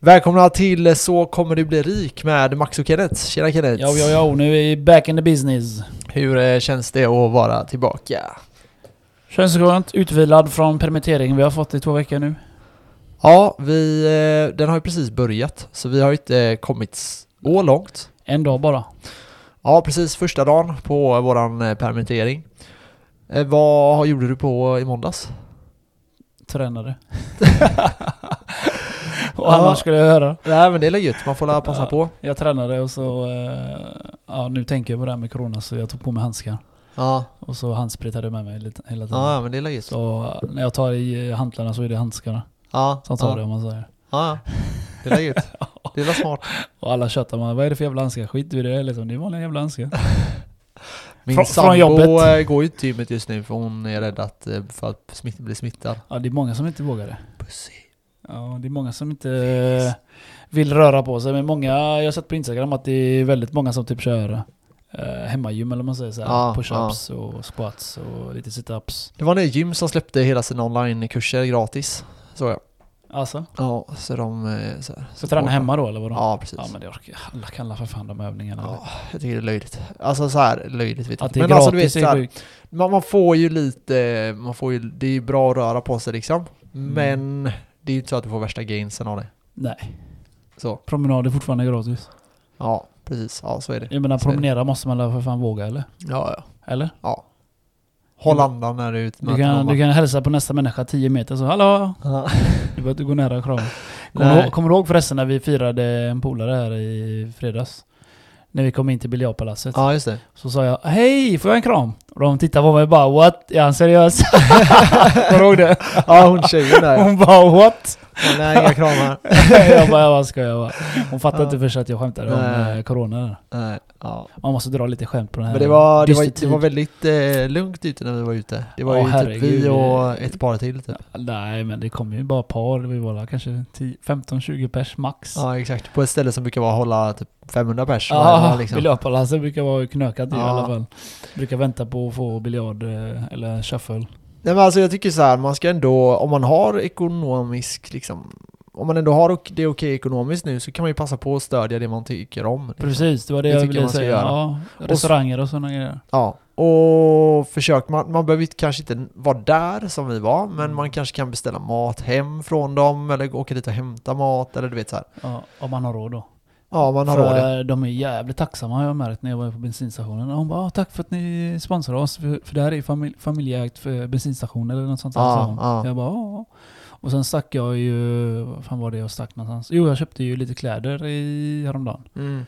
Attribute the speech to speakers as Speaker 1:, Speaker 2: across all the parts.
Speaker 1: Välkomna till Så kommer du bli rik med Max och Kenneth. Tjena Kenneth!
Speaker 2: Jo, jo, jo, nu är vi back in the business.
Speaker 1: Hur eh, känns det att vara tillbaka?
Speaker 2: Känns skönt, utvilad från permittering vi har fått i två veckor nu.
Speaker 1: Ja, vi, eh, den har ju precis börjat, så vi har ju inte eh, kommit så långt.
Speaker 2: En dag bara.
Speaker 1: Ja, precis första dagen på eh, våran eh, permittering. Eh, Vad gjorde du på i måndags?
Speaker 2: Tränade.
Speaker 1: Ja.
Speaker 2: och annars skulle jag höra.
Speaker 1: Nej men det är gött, man får la passa
Speaker 2: Ja.
Speaker 1: på.
Speaker 2: Jag tränade och så... Eh, ja, nu tänker jag på det här med corona så jag tog på mig handskar.
Speaker 1: Ja,
Speaker 2: Och så handspritade jag med mig lite, hela tiden.
Speaker 1: ja men det är gött.
Speaker 2: Så eh, när jag tar i eh, hantlarna så är det handskarna
Speaker 1: Ja,
Speaker 2: som tar
Speaker 1: ja.
Speaker 2: det om man säger.
Speaker 1: Ja, ja. det är gött. Det är smart.
Speaker 2: Och alla tjötar man, vad är det för jävla handskar? Skit i det liksom, det är vanliga jävla handskar.
Speaker 1: Min
Speaker 2: Frå- från
Speaker 1: sambo
Speaker 2: jobbet.
Speaker 1: eh, går ju inte till gymmet just nu för hon är rädd att, eh, för att smitt, bli smittad.
Speaker 2: Ja, det är många som inte vågar det.
Speaker 1: Pussy.
Speaker 2: Ja, det är många som inte eh, vill röra på sig. Men många, jag har sett på Instagram att det är väldigt många som typ kör eh, hemmagym eller vad man säger så här.
Speaker 1: Ja,
Speaker 2: Push-ups och squats och lite sit-ups.
Speaker 1: Det var en gym som släppte hela sina onlinekurser gratis. Så jag.
Speaker 2: Alltså,
Speaker 1: Ja, så de... eh, Så, här,
Speaker 2: så träna
Speaker 1: folk-
Speaker 2: hemma då eller vadå?
Speaker 1: Ja, precis.
Speaker 2: Ja, men det orkar alla kallar för fan de övningarna.
Speaker 1: Ja, jag tycker det är löjligt. Alltså så här löjligt vet jag
Speaker 2: Att
Speaker 1: inte.
Speaker 2: det är
Speaker 1: Men
Speaker 2: gratis
Speaker 1: alltså du vet
Speaker 2: är
Speaker 1: så här,
Speaker 2: sjukt.
Speaker 1: man, man får ju lite, man får ju, det är ju bra att röra på sig liksom.
Speaker 2: Mm.
Speaker 1: Men det är ju inte så att du får värsta gainsen av det.
Speaker 2: Nej,
Speaker 1: Så,
Speaker 2: promenad är fortfarande gratis.
Speaker 1: ja precis. Ja, så är det.
Speaker 2: Jag menar
Speaker 1: Så är det.
Speaker 2: promenera måste man väl för fan våga eller?
Speaker 1: Ja, ja.
Speaker 2: Eller?
Speaker 1: ja. Håll andan när du är ute
Speaker 2: Mm. Du
Speaker 1: möter någon,
Speaker 2: kan,
Speaker 1: va?
Speaker 2: du kan hälsa på nästa människa 10 meter så hallå!
Speaker 1: Ja.
Speaker 2: Du behöver inte gå nära och krama. Kommer du,
Speaker 1: Nej.
Speaker 2: ihåg- kommer du ihåg förresten när vi firade en polare här i fredags? När vi kom in till biljardpalatset.
Speaker 1: ja, just det.
Speaker 2: Så sa jag Hej, får jag en kram? Och de tittade på mig och bara What? Är han seriös? Kommer du ihåg det?
Speaker 1: Ja, hon tjejen där.
Speaker 2: Hon bara What?
Speaker 1: Nej, inga kramar.
Speaker 2: jag bara, jag bara skojar bara. Hon fattade
Speaker 1: Ja.
Speaker 2: inte först att jag skämtade om
Speaker 1: Nej.
Speaker 2: eh, corona där.
Speaker 1: Nej, ja.
Speaker 2: Man måste dra lite skämt på den här
Speaker 1: Men det var, det var, det
Speaker 2: dystertid.
Speaker 1: var väldigt eh, lugnt ute när vi var ute. Det var
Speaker 2: Ja,
Speaker 1: ju typ
Speaker 2: herregud.
Speaker 1: vi och ett par till typ.
Speaker 2: Nej men det kom ju bara par, vi var där kanske 10 15-20 pers max.
Speaker 1: Ja. exakt. På ett ställe som brukar vara hålla typ 500 pers.
Speaker 2: Ja,
Speaker 1: Ja, liksom.
Speaker 2: biljardpalatset brukar vara knökat i
Speaker 1: Ja.
Speaker 2: alla fall. Brukar vänta på att få biljard eh, eller shuffle.
Speaker 1: Nej men alltså jag tycker så här, man ska ändå, om man har ekonomisk liksom, om man ändå har ok- det är okej ekonomiskt nu så kan man ju passa på att stödja det man tycker om.
Speaker 2: Precis, det var det,
Speaker 1: Det
Speaker 2: jag
Speaker 1: tycker jag
Speaker 2: ville
Speaker 1: man ska
Speaker 2: säga.
Speaker 1: göra.
Speaker 2: Ja,
Speaker 1: s-
Speaker 2: restauranger och sådana grejer.
Speaker 1: Ja, och försök, man, man behöver ju kanske inte vara där som vi var,
Speaker 2: Mm.
Speaker 1: men man kanske kan beställa mat hem från dem eller åka dit och hämta mat eller du vet så här.
Speaker 2: Ja, om man har råd då.
Speaker 1: Ja, man har
Speaker 2: För,
Speaker 1: råd. ja.
Speaker 2: eh, De är jävligt tacksamma har jag märkt när jag var på bensinstationen. Och Hon bara "Ah, tack för att ni sponsrar oss, för, för det här är famil familjeägt för bensinstation eller något sånt där.
Speaker 1: Ja,
Speaker 2: sa hon.
Speaker 1: ja.
Speaker 2: Jag bara "Ja." Och sen stack jag ju, vad fan var det jag stack någonstans? Jo jag köpte ju lite kläder i, häromdagen.
Speaker 1: Mm.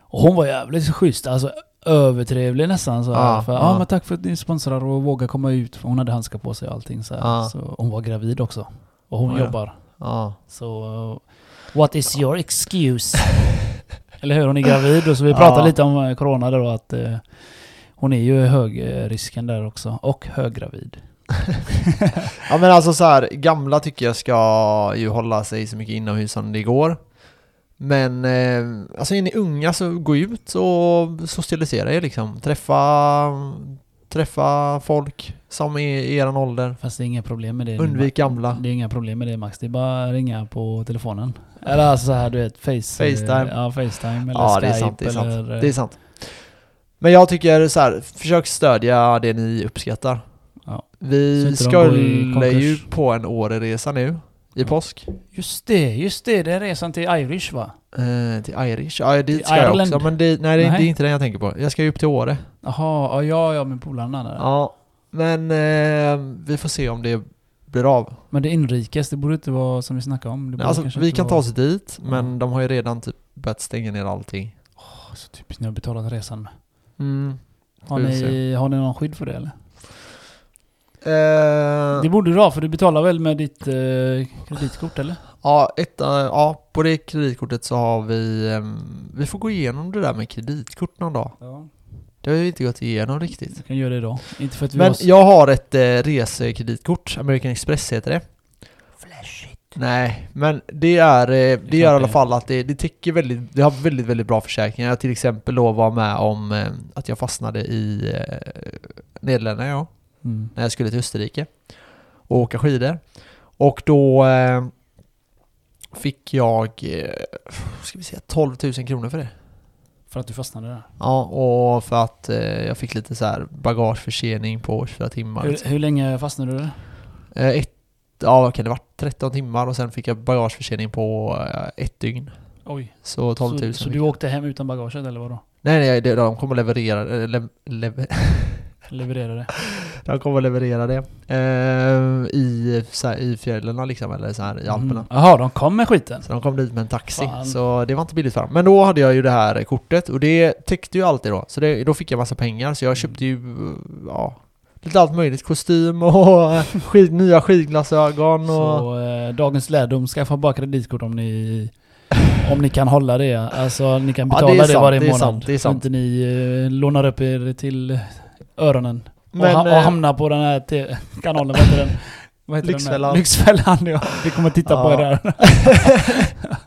Speaker 2: Och hon var jävligt schysst, alltså övertrevlig nästan så här.
Speaker 1: Ja,
Speaker 2: för,
Speaker 1: ja.
Speaker 2: ja. men tack för att ni sponsrar och vågar komma ut. För hon hade handskar på sig och allting så, här.
Speaker 1: Ja.
Speaker 2: så Hon var gravid också. Och hon
Speaker 1: Ja, ja.
Speaker 2: jobbar.
Speaker 1: Ja.
Speaker 2: Så eh, what is your excuse? Eller hur? Hon är gravid och så vi pratade
Speaker 1: Ja.
Speaker 2: lite om eh, corona där då att eh, hon är ju i högrisken där också. Och höggravid.
Speaker 1: Ja men alltså så här, gamla tycker jag ska ju hålla sig så mycket inomhus som det går. Men eh, alltså är ni unga så gå ut och socialisera er liksom. Träffa, träffa folk som är i eran ålder.
Speaker 2: Fast det är inga problem med det.
Speaker 1: Undvik gamla.
Speaker 2: Det är inga problem med det Max. Det är bara ringa på telefonen. Eller alltså så här du vet, face,
Speaker 1: Facetime.
Speaker 2: Ja, Facetime eller
Speaker 1: Ja
Speaker 2: Skype
Speaker 1: det är sant, det är sant.
Speaker 2: eller...
Speaker 1: Det är sant. Men jag tycker så här, försök stödja det ni uppskattar.
Speaker 2: Ja. Så
Speaker 1: Vi
Speaker 2: inte de går i
Speaker 1: skulle ju
Speaker 2: konkurs.
Speaker 1: på en Åreresa nu i
Speaker 2: Ja.
Speaker 1: påsk.
Speaker 2: Just det, just det. Det är resan till Irish va?
Speaker 1: Eh, till Irish. Ja, dit
Speaker 2: Till
Speaker 1: ska jag
Speaker 2: Ireland.
Speaker 1: också. Men det, nej, det, är-
Speaker 2: Nej.
Speaker 1: det är inte den jag tänker på. Jag ska ju upp till Åre.
Speaker 2: Jaha, ja, ja, ja med polarna där.
Speaker 1: Ja, men eh, vi får se om det blir av.
Speaker 2: Men det är inrikes, det borde inte vara som vi snackade om. Det borde
Speaker 1: Alltså,
Speaker 2: kanske
Speaker 1: vi
Speaker 2: inte
Speaker 1: kan ta
Speaker 2: vara-
Speaker 1: oss dit, men
Speaker 2: Ja.
Speaker 1: de har ju redan typ börjat stänga ner allting.
Speaker 2: Så typiskt ni har betalat resan med.
Speaker 1: Mm.
Speaker 2: Har
Speaker 1: Vi får
Speaker 2: ni, har ni någon skydd för det eller?
Speaker 1: Eh,
Speaker 2: Det borde du ha för du betalar väl med ditt eh, kreditkort eller?
Speaker 1: ja, ett, eh, ja, på det kreditkortet så har vi... ehm, vi får gå igenom det där med kreditkort någon dag.
Speaker 2: Ja.
Speaker 1: Det har vi inte gått igenom riktigt.
Speaker 2: Du kan göra det idag. Inte för att vi
Speaker 1: Men
Speaker 2: har... s-
Speaker 1: jag har ett eh, resekreditkort, American Express heter det.
Speaker 2: Flashigt.
Speaker 1: Nej, men det är, eh, det gör i alla
Speaker 2: det.
Speaker 1: fall att det, det täcker väldigt, det har väldigt, väldigt bra försäkringar. Jag till exempel då var med om eh, att jag fastnade i eh, Nederländerna ja,
Speaker 2: Mm.
Speaker 1: när jag skulle till Österrike och åka skidor. Och då eh, fick jag, eh, ska vi säga, 12 000 kronor för det.
Speaker 2: För att du fastnade där.
Speaker 1: Ja, och för att eh, jag fick lite så här bagageförsening på 24 timmar.
Speaker 2: Hur, hur länge fastnade du där?
Speaker 1: Eh, ett, ja, vad kan det vara? 13 timmar och sen fick jag bagageförsening på eh, ett dygn.
Speaker 2: Oj.
Speaker 1: Så 12 000.
Speaker 2: så, så du åkte hem utan bagaget eller vadå?
Speaker 1: Nej, nej, det- de kommer att leverera, eh, lev, lev,
Speaker 2: Levererade?
Speaker 1: de kommer att leverera det. Eh, I, så här, i fjällen liksom, eller så här, i Alperna.
Speaker 2: Mm. Jaha, de kom med skiten?
Speaker 1: Så de kom dit med en taxi,
Speaker 2: Fan.
Speaker 1: så det var inte billigt för dem. Men då hade jag ju det här kortet och det täckte ju alltid då. Så det, då fick jag massa pengar, så jag köpte ju, eh, ja, lite allt möjligt. Kostym och skid, nya skidglasögon och...
Speaker 2: Så eh, dagens lärdom, skaffa bara kreditkort om ni, om ni kan hålla det. Alltså ni kan
Speaker 1: Ja, det är
Speaker 2: betala det,
Speaker 1: sant,
Speaker 2: varje
Speaker 1: det är
Speaker 2: månad.
Speaker 1: sant, det är
Speaker 2: Så
Speaker 1: sant.
Speaker 2: inte ni eh, lånar upp er till öronen.
Speaker 1: Men,
Speaker 2: och, ha,
Speaker 1: eh,
Speaker 2: och hamnar på den här te- kanalen, vad heter den? Vad heter Den
Speaker 1: Lyxfällan.
Speaker 2: här? Lyxfällan ja. Vi kommer titta på
Speaker 1: Ja,
Speaker 2: er där.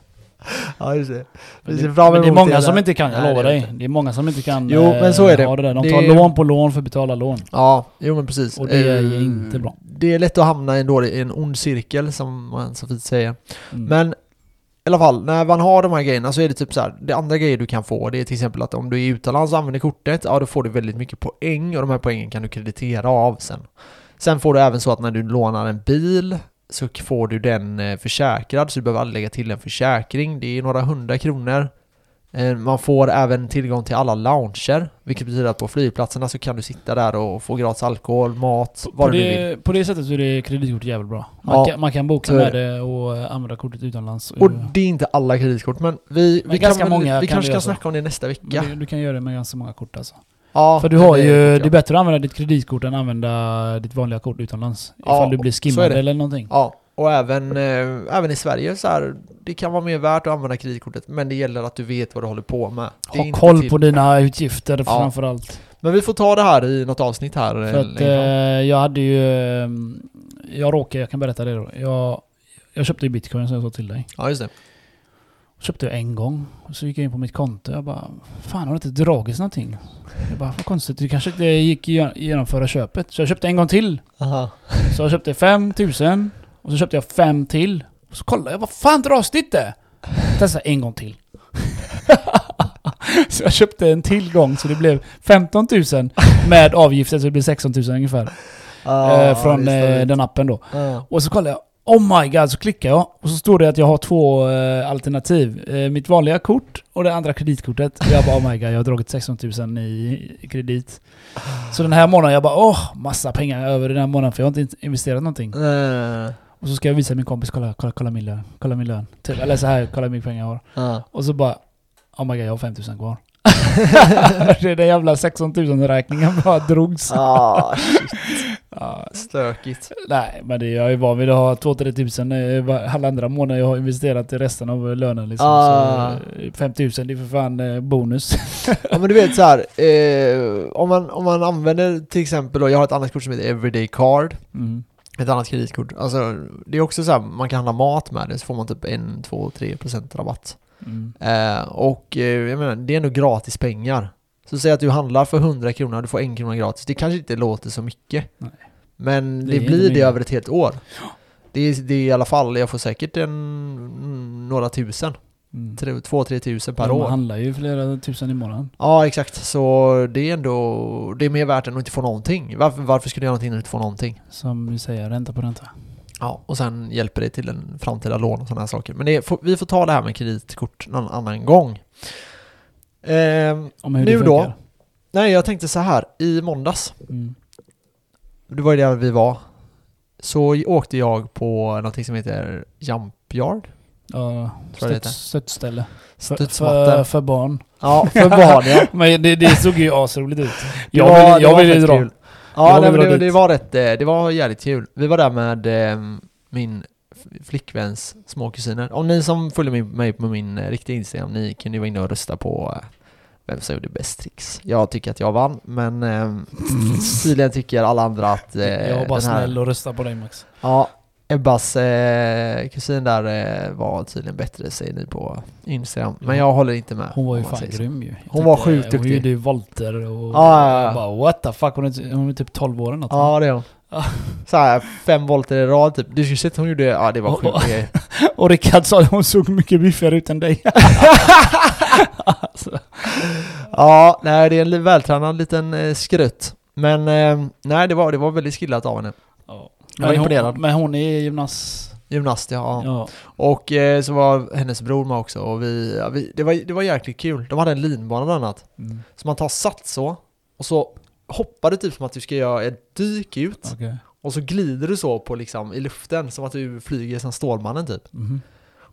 Speaker 1: ja, just det. Vi ser
Speaker 2: Men
Speaker 1: fram
Speaker 2: det är
Speaker 1: emot
Speaker 2: många
Speaker 1: det
Speaker 2: som
Speaker 1: där.
Speaker 2: inte kan, jag
Speaker 1: Nej,
Speaker 2: lovar
Speaker 1: det är
Speaker 2: dig.
Speaker 1: inte.
Speaker 2: Det är många som inte kan
Speaker 1: Jo,
Speaker 2: eh,
Speaker 1: men så är det.
Speaker 2: ha det där. De
Speaker 1: Det
Speaker 2: tar
Speaker 1: är-
Speaker 2: lån på lån för att betala lån.
Speaker 1: Ja, jo men precis.
Speaker 2: Och det är ju
Speaker 1: Eh,
Speaker 2: inte bra.
Speaker 1: Det är lätt att hamna i en, dålig, i en ond cirkel som man så fint säger.
Speaker 2: Mm.
Speaker 1: Men i alla fall, när man har de här grejerna så är det typ så här, det andra grejer du kan få det är till exempel att om du är utomlands och använder kortet, ja då får du väldigt mycket poäng och de här poängen kan du kreditera av sen. Sen får du även så att när du lånar en bil så k- får du den eh, försäkrad så du behöver aldrig lägga till en försäkring. Det är några hundra kronor. Eh, Man får även tillgång till alla lounger, vilket betyder att på flygplatserna så kan du sitta där och få gratis alkohol, mat,
Speaker 2: På
Speaker 1: vad du nu vill.
Speaker 2: det, på det sättet så är det kreditkort jävligt bra. Man,
Speaker 1: Ja,
Speaker 2: kan, man kan boka
Speaker 1: så är
Speaker 2: med det och eh, använda kortet utomlands.
Speaker 1: Och det är inte alla kreditkort, men vi,
Speaker 2: Men
Speaker 1: vi, kan,
Speaker 2: ganska
Speaker 1: väl-
Speaker 2: många
Speaker 1: vi
Speaker 2: kan
Speaker 1: kanske
Speaker 2: det
Speaker 1: kan
Speaker 2: göra så.
Speaker 1: snacka om det nästa vecka.
Speaker 2: Men du, du kan göra det med ganska många kort alltså.
Speaker 1: Ja,
Speaker 2: För du har
Speaker 1: det-
Speaker 2: ju,
Speaker 1: det
Speaker 2: det är
Speaker 1: tror jag.
Speaker 2: bättre att använda ditt kreditkort än att använda ditt vanliga kort utomlands.
Speaker 1: Ja,
Speaker 2: ifall du blir
Speaker 1: så är
Speaker 2: skimmad
Speaker 1: det.
Speaker 2: eller någonting.
Speaker 1: Ja, och även, eh, även i Sverige så här, det kan vara mer värt att använda kreditkortet, men det gäller att du vet vad du håller på med. Det är
Speaker 2: Ha
Speaker 1: inte
Speaker 2: koll
Speaker 1: till-
Speaker 2: på dina utgifter
Speaker 1: Ja.
Speaker 2: framförallt.
Speaker 1: Men vi får ta det här i något avsnitt här. eh,
Speaker 2: För att eh,
Speaker 1: längre fram.
Speaker 2: jag hade ju... eh, Jag råkade, jag kan berätta det då. Jag, jag köpte ju bitcoin som jag sa till dig.
Speaker 1: Ja, just det.
Speaker 2: Köpte jag en gång. Och så gick jag in på mitt konto. Jag bara, fan har det inte dragits någonting? Jag bara, vad konstigt. Det kanske inte gick att genomföra köpet. Så jag köpte en gång till.
Speaker 1: Aha.
Speaker 2: Så jag köpte 5000 och så köpte jag fem till. Och så kollade jag, vad fan dras det inte? Testa en gång till. så jag köpte en till gång så det blev 15 000 med avgifter så det blev 16 000 ungefär. eh, från eh, den appen då.
Speaker 1: Ja.
Speaker 2: Och så kollade jag, oh my god, så klickar jag och så står det att jag har två eh, alternativ. Eh, mitt vanliga kort och det andra kreditkortet. Och jag bara oh my god, jag har dragit 16 000 i i kredit. Så den här månaden, jag bara åh, massa pengar över den här månaden för jag har inte investerat någonting.
Speaker 1: Eh,
Speaker 2: Och så ska jag visa min kompis, kolla, kolla, kolla min lön, kolla min lön. Typ, eller så här, kolla hur mycket pengar jag har.
Speaker 1: ja.
Speaker 2: Och så bara, oh my god, jag har 5 000 kvar. det är den jävla 16 000-räkningen bara drogs.
Speaker 1: Ah,
Speaker 2: Ja,
Speaker 1: stökigt.
Speaker 2: nej, men det, jag är van vid att ha 2-3 000 eh, alla andra månader jag har investerat i resten av lönen. Liksom.
Speaker 1: Ah.
Speaker 2: Så, eh, 5 000, det är för fan eh, bonus.
Speaker 1: Ja men du vet så här, eh, om, man, om man använder till exempel då, jag har ett annat kort som heter Everyday Card.
Speaker 2: Mm.
Speaker 1: Ett annat kreditkort. Alltså, det är också så här, man kan handla mat med det så får man typ 1, 2, 3 procent rabatt.
Speaker 2: Mm.
Speaker 1: Eh, och eh, jag menar, det är ändå gratis pengar. Så säg att du handlar för 100 kronor och du får 1 krona gratis. Det kanske inte låter så mycket.
Speaker 2: Nej.
Speaker 1: Men
Speaker 2: Det
Speaker 1: det,
Speaker 2: är inte
Speaker 1: blir det
Speaker 2: mycket.
Speaker 1: över ett helt år. Det är, det är i alla fall, jag får säkert en, mm, några tusen.
Speaker 2: Mm.
Speaker 1: Tre- Två, tre tusen per
Speaker 2: De
Speaker 1: år.
Speaker 2: handlar ju flera tusen i månaden.
Speaker 1: Ja, exakt. Så det är ändå, det är mer värt än att inte få någonting. Varför, varför skulle du göra någonting när du inte får någonting?
Speaker 2: Som vi säger, ränta på ränta.
Speaker 1: Ja, och sen hjälper det till en framtida lån och sådana här saker. Men det, får- vi får ta det här med kreditkort någon annan gång. Ehm,
Speaker 2: Om hur
Speaker 1: Nu
Speaker 2: det
Speaker 1: då?
Speaker 2: funkar.
Speaker 1: nej, jag tänkte så här. I måndags,
Speaker 2: Mm.
Speaker 1: det var ju där vi var, så åkte jag på någonting som heter Jump Yard.
Speaker 2: Ja,
Speaker 1: Tror jag det heter.
Speaker 2: stött, stöttställe. För, för,
Speaker 1: Studsmatten.
Speaker 2: för barn.
Speaker 1: Ja, för barn ja.
Speaker 2: Men det, det såg ju asroligt ut. Jag
Speaker 1: Ja,
Speaker 2: ville
Speaker 1: det
Speaker 2: jag
Speaker 1: var
Speaker 2: vill ju
Speaker 1: fett
Speaker 2: dra.
Speaker 1: kul. Ja,
Speaker 2: Jag
Speaker 1: nej,
Speaker 2: vill
Speaker 1: men
Speaker 2: dra
Speaker 1: det,
Speaker 2: dit.
Speaker 1: det var rätt, eh, det var jävligt kul. Vi var där med eh, min f- flickväns små kusiner. Om ni som följer mig- mig på min eh, riktiga Instagram, ni kunde ju vara inne och rösta på eh, vem som gjorde bäst tricks. Jag tycker att jag vann, men eh, tydligen tycker alla andra att eh,
Speaker 2: jag var bara
Speaker 1: den här,
Speaker 2: snäll och röstade på dig Max.
Speaker 1: Ja, Ebbas eh, kusin där eh, var tydligen bättre, säger ni på Instagram. Men jag håller inte med.
Speaker 2: Hon var ju
Speaker 1: om man
Speaker 2: fan
Speaker 1: säger så.
Speaker 2: grym ju. Jag
Speaker 1: Hon var
Speaker 2: tänkte,
Speaker 1: sjukt
Speaker 2: Hon
Speaker 1: duktig.
Speaker 2: gjorde ju volter och...
Speaker 1: Ja, ja, ja.
Speaker 2: Bara what the fuck, hon är, ty- hon är typ 12 år eller något.
Speaker 1: Ja, det är hon. så här fem volter i rad typ. Du skulle sett hon gjorde, ja det var sjukt grejer.
Speaker 2: Och Rickard sa att hon såg mycket biffigare ut än dig. alltså.
Speaker 1: Ja, nej det är en li- vältränad liten eh, skrutt. Men eh, nej, det var, det var väldigt skillat av henne. Jag var
Speaker 2: Men hon-
Speaker 1: imponerad.
Speaker 2: Men hon är gymnas...
Speaker 1: Gymnast, ja.
Speaker 2: Ja.
Speaker 1: Och eh, så var hennes bror med också och vi, ja, vi det, var, det var jäkligt kul. De hade en linbana bland annat.
Speaker 2: Mm.
Speaker 1: Så man tar sats så, och så hoppar du typ som att du ska göra ett dyk ut.
Speaker 2: Okej.
Speaker 1: Och så glider du så på liksom i luften, som att du flyger som Stålmannen typ.
Speaker 2: Mhm.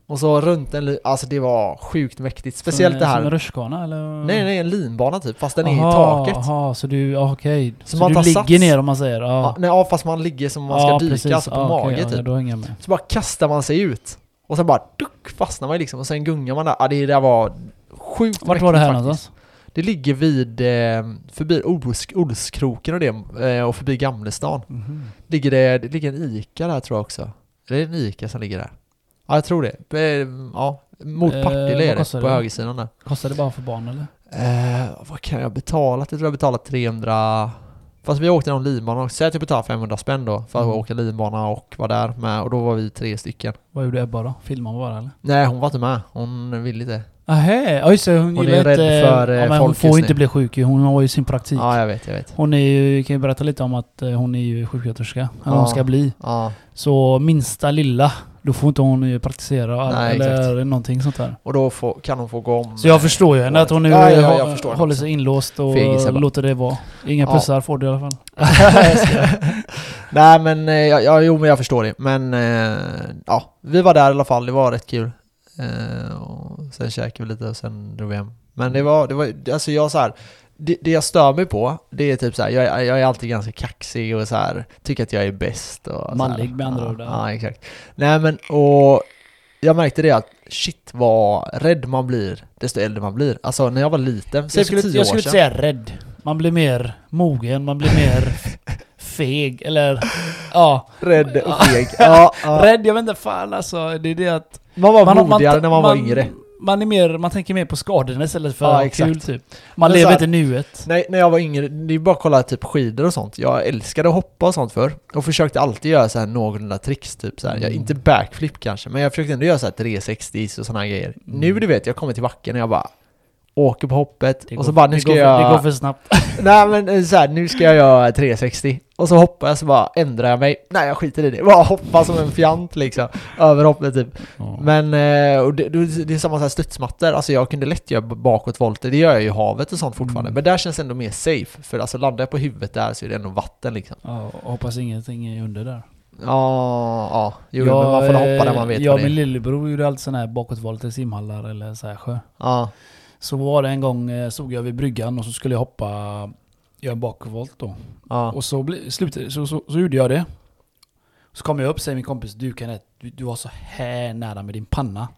Speaker 1: Och så runt en, li- alltså det var sjukt mäktigt. Speciellt
Speaker 2: som,
Speaker 1: det
Speaker 2: Som en
Speaker 1: här.
Speaker 2: rutschkana eller?
Speaker 1: Nej, nej, en linbana typ, fast den är i
Speaker 2: Aha,
Speaker 1: taket.
Speaker 2: Aha, så du, ja, okej.
Speaker 1: Så
Speaker 2: Så,
Speaker 1: man
Speaker 2: du
Speaker 1: tar
Speaker 2: ligger
Speaker 1: sats.
Speaker 2: ner om man säger?
Speaker 1: Ja,
Speaker 2: Ja.
Speaker 1: nej, ja, fast man ligger som om man ska
Speaker 2: Ja,
Speaker 1: dyka,
Speaker 2: precis.
Speaker 1: alltså på
Speaker 2: Ja, okej,
Speaker 1: mage
Speaker 2: ja,
Speaker 1: typ.
Speaker 2: Ja, då hänger jag med.
Speaker 1: Så bara kastar man sig ut. Och sen bara duck, fastnar man liksom och sen gungar man där. Ja, det där var sjukt
Speaker 2: Vart var det här
Speaker 1: mäktigt faktiskt.
Speaker 2: någonstans?
Speaker 1: Det ligger vid, eh, förbi Olsk, Olskroken och det, eh, och förbi Gamlestan.
Speaker 2: Mhm.
Speaker 1: Ligger det, det ligger en ICA där tror jag också. Är det en ICA som ligger där? Ja, jag tror det. Eh, ja, mot
Speaker 2: Eh,
Speaker 1: Partille är
Speaker 2: vad
Speaker 1: det,
Speaker 2: kostar
Speaker 1: på
Speaker 2: det?
Speaker 1: högersidan där.
Speaker 2: Kostar det bara för barn eller?
Speaker 1: Eh, vad kan jag ha betalat? Jag tror jag betalat 300... Fast vi åkte någon linbana också. Säg att jag betalade 500 spänn då för att
Speaker 2: Mm.
Speaker 1: åka linbana och vara där med. Och då var vi tre stycken.
Speaker 2: Vad gjorde Ebba då? Filmade hon bara eller?
Speaker 1: Nej, hon var inte med. Hon ville inte.
Speaker 2: Ahä, ja just det, hon,
Speaker 1: Hon
Speaker 2: gillar
Speaker 1: är rädd
Speaker 2: inte,
Speaker 1: för, eh,
Speaker 2: ja, men Hon
Speaker 1: folk
Speaker 2: får
Speaker 1: just
Speaker 2: inte
Speaker 1: nu.
Speaker 2: bli sjuk ju. hon har ju sin praktik.
Speaker 1: Ja, jag vet, jag vet.
Speaker 2: Hon är ju, kan ju berätta lite om att eh, hon är ju sjuksköterska, eller
Speaker 1: Ja.
Speaker 2: hon ska bli.
Speaker 1: Ja.
Speaker 2: Så minsta lilla, då får inte hon ju praktisera all-
Speaker 1: Nej,
Speaker 2: eller någonting sånt där.
Speaker 1: Och då får, kan hon få gå om...
Speaker 2: Så jag förstår ju henne, att hon nu
Speaker 1: Ja, ja, jag
Speaker 2: har-
Speaker 1: förstår det
Speaker 2: håller
Speaker 1: också.
Speaker 2: sig inlåst och
Speaker 1: Fegis jävla.
Speaker 2: låter det vara. Inga
Speaker 1: Ja.
Speaker 2: pussar får du i alla fall.
Speaker 1: Nej men, eh, ja, ja, jo men jag förstår det. Men, eh, ja. Vi var där i alla fall, det var rätt kul. Eh, och sen käkade vi lite och sen drog vi hem. Men det var, det var alltså jag så här. Det, det jag stör mig på, det är typ så här, jag, är- jag är alltid ganska kaxig och så här, tycker att jag är bäst och så här.
Speaker 2: Manlig med andra
Speaker 1: ja,
Speaker 2: ord, ja.
Speaker 1: Ja, exakt. Nej men, och jag märkte det att shit vad rädd man blir desto äldre man blir. Alltså när jag var liten, säg
Speaker 2: Jag
Speaker 1: för tio
Speaker 2: skulle,
Speaker 1: år sedan.
Speaker 2: jag skulle inte säga rädd. Man blir mer mogen, man blir mer feg, eller ja.
Speaker 1: Rädd och feg. Ja, ja.
Speaker 2: Rädd, jag vet inte fan alltså. Det är det att
Speaker 1: Man var
Speaker 2: har-
Speaker 1: modigare när man, var yngre.
Speaker 2: Man, är mer, man tänker mer på skadorna istället för
Speaker 1: Ja,
Speaker 2: ja,
Speaker 1: exakt.
Speaker 2: kul typ.
Speaker 1: Men
Speaker 2: Man
Speaker 1: så
Speaker 2: lever
Speaker 1: här-
Speaker 2: inte nuet.
Speaker 1: Nej, när jag var yngre, det är bara att kolla typ skidor och sånt. Jag älskade att hoppa och sånt för Och försökte alltid göra så här någorlunda tricks typ så här. Jag,
Speaker 2: Mm.
Speaker 1: inte backflip kanske, men jag försökte ändå göra så här 360 och sådana grejer.
Speaker 2: Mm.
Speaker 1: Nu du vet, jag kommer till backen och jag bara åker på hoppet
Speaker 2: Det
Speaker 1: och
Speaker 2: går-
Speaker 1: så bara nu
Speaker 2: det
Speaker 1: ska
Speaker 2: går, för-
Speaker 1: jag...
Speaker 2: Det går för snabbt.
Speaker 1: Nej men eh, så här, nu ska jag göra 360 Och så hoppar jag så bara ändrar jag mig Nej jag skiter i det, bara hoppar som en fjant liksom Över hoppet typ Men eh, och det, det det är samma så här studsmattor Alltså jag kunde lätt göra bakåtvolter Det gör jag ju i havet och sånt fortfarande
Speaker 2: Mm.
Speaker 1: Men där känns det ändå mer safe För alltså landar jag på huvudet där så är det ändå vatten liksom
Speaker 2: Ja, och hoppas ingenting är under där.
Speaker 1: Ja, ja eh, Jo men man får hoppa där man vet
Speaker 2: Jag
Speaker 1: vad
Speaker 2: och
Speaker 1: det
Speaker 2: min
Speaker 1: är
Speaker 2: lillebror gjorde alltid sådana här bakåtvolter i simhallar eller så här sjö.
Speaker 1: Ja,
Speaker 2: Så var det en gång, eh, stod jag vid bryggan och så skulle jag hoppa, göra en bakåtvolt då.
Speaker 1: ja,
Speaker 2: Och så, bli, slutade, så, så, så gjorde jag det. Så kom jag upp och säger min kompis, du kan du, du var så här nära med din panna.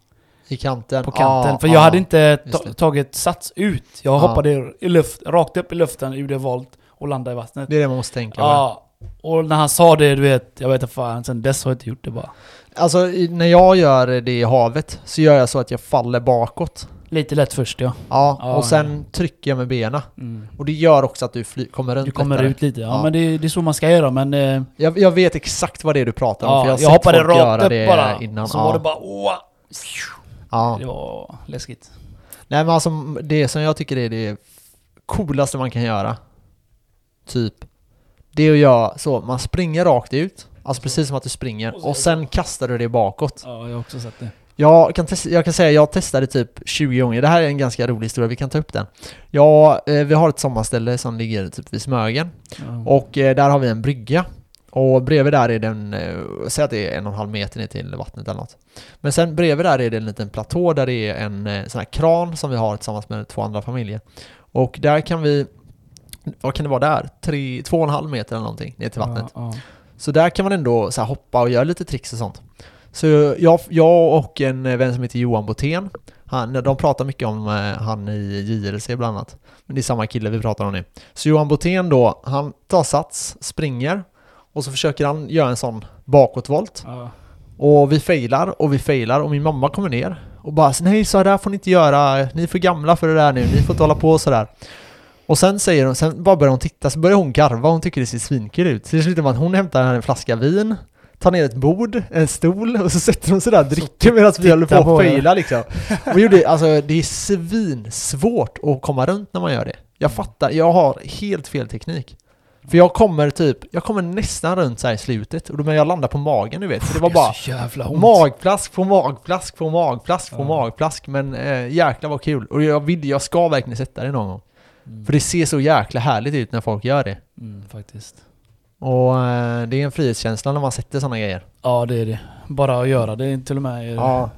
Speaker 1: i kanten
Speaker 2: på kanten.
Speaker 1: Ja,
Speaker 2: för
Speaker 1: ja.
Speaker 2: jag hade inte ta-
Speaker 1: just det.
Speaker 2: tagit sats ut. Jag
Speaker 1: Ja.
Speaker 2: hoppade i luft, rakt upp i luften, gjorde volt och landade i vattnet.
Speaker 1: Det är det man måste tänka på
Speaker 2: Ja. Och när han sa det, du vet, jag vet inte fan, sen dess har jag inte gjort det bara.
Speaker 1: Alltså i- när jag gör det i havet Så gör jag så att jag faller bakåt
Speaker 2: Lite lätt först ja.
Speaker 1: Ja,
Speaker 2: Ja,
Speaker 1: och sen trycker jag med benen.
Speaker 2: Mm.
Speaker 1: Och det gör också att du fly- kommer runt
Speaker 2: Du kommer
Speaker 1: lättare.
Speaker 2: ut lite, ja,
Speaker 1: Ja.
Speaker 2: men det, det är så man ska göra men... Eh,
Speaker 1: Jag, jag vet exakt vad det är du pratar om,
Speaker 2: ja,
Speaker 1: för jag har
Speaker 2: jag,
Speaker 1: sett
Speaker 2: hoppade
Speaker 1: folk
Speaker 2: rakt
Speaker 1: göra
Speaker 2: upp
Speaker 1: det
Speaker 2: bara.
Speaker 1: innan.
Speaker 2: Så
Speaker 1: ja.
Speaker 2: var det bara åh.
Speaker 1: ja.
Speaker 2: Det var läskigt.
Speaker 1: Nej men alltså, det som jag tycker är det coolaste man kan göra, typ, det är att göra så, man springer rakt ut, alltså precis som att du springer, och sen kastar du det bakåt.
Speaker 2: Ja, jag har också sett det.
Speaker 1: Jag kan, testa, jag kan säga jag testade typ 20 gånger, det här är en ganska rolig historia, vi kan ta upp den. Ja, eh, vi har ett sommarställe som ligger typ vid Smögen,
Speaker 2: Ja.
Speaker 1: Och eh, där har vi en brygga. Och bredvid där är den, eh, säg att det är en och en halv meter ner till vattnet eller något. Men sen bredvid där är det en liten platå där det är en eh, sån här kran som vi har tillsammans med två andra familjer. Och där kan vi, vad kan det vara där? Tre, två och en halv meter eller någonting ner till vattnet.
Speaker 2: Ja,
Speaker 1: Så där kan man ändå så här, hoppa och göra lite tricks och sånt. Så jag, jag och en vän som heter Johan Botén, han, de pratar mycket om eh, han i JLC bland annat. Men det är samma kille vi pratar om nu. Så Johan Botén då, han tar sats, springer och så försöker han göra en sån bakåtvolt.
Speaker 2: ja.
Speaker 1: Och vi failar och vi failar och min mamma kommer ner och bara så, nej så här där får ni inte göra, ni är för gamla för det där nu, ni får inte hålla på sådär. Och sen säger hon, sen bara börjar hon titta, så börjar hon garva, hon tycker det ser svinkul ut. Så det slutar med att hon hämtar en flaska vin, tar ner ett bord, en stol och så sätter hon sig där och dricker medan vi håller på
Speaker 2: titta på
Speaker 1: att
Speaker 2: det.
Speaker 1: faila liksom. Och gjorde, alltså det är svinsvårt att komma runt när man gör det. Jag fattar, jag har helt fel teknik. För jag kommer typ, jag kommer nästan runt så här i slutet, och då men jag landar på magen du vet. Så det var bara
Speaker 2: så jävla ont.
Speaker 1: magplask på magplask på magplask på
Speaker 2: Ja.
Speaker 1: magplask. Men eh, jäklar vad kul. Och jag vill, jag ska verkligen sätta det någon gång.
Speaker 2: Mm,
Speaker 1: För det ser så jäkla härligt ut när folk gör det.
Speaker 2: mm, faktiskt.
Speaker 1: Och eh, det är en frihetskänsla när man sätter sådana grejer.
Speaker 2: Ja, det är det. Bara att göra det till och med. eh, är-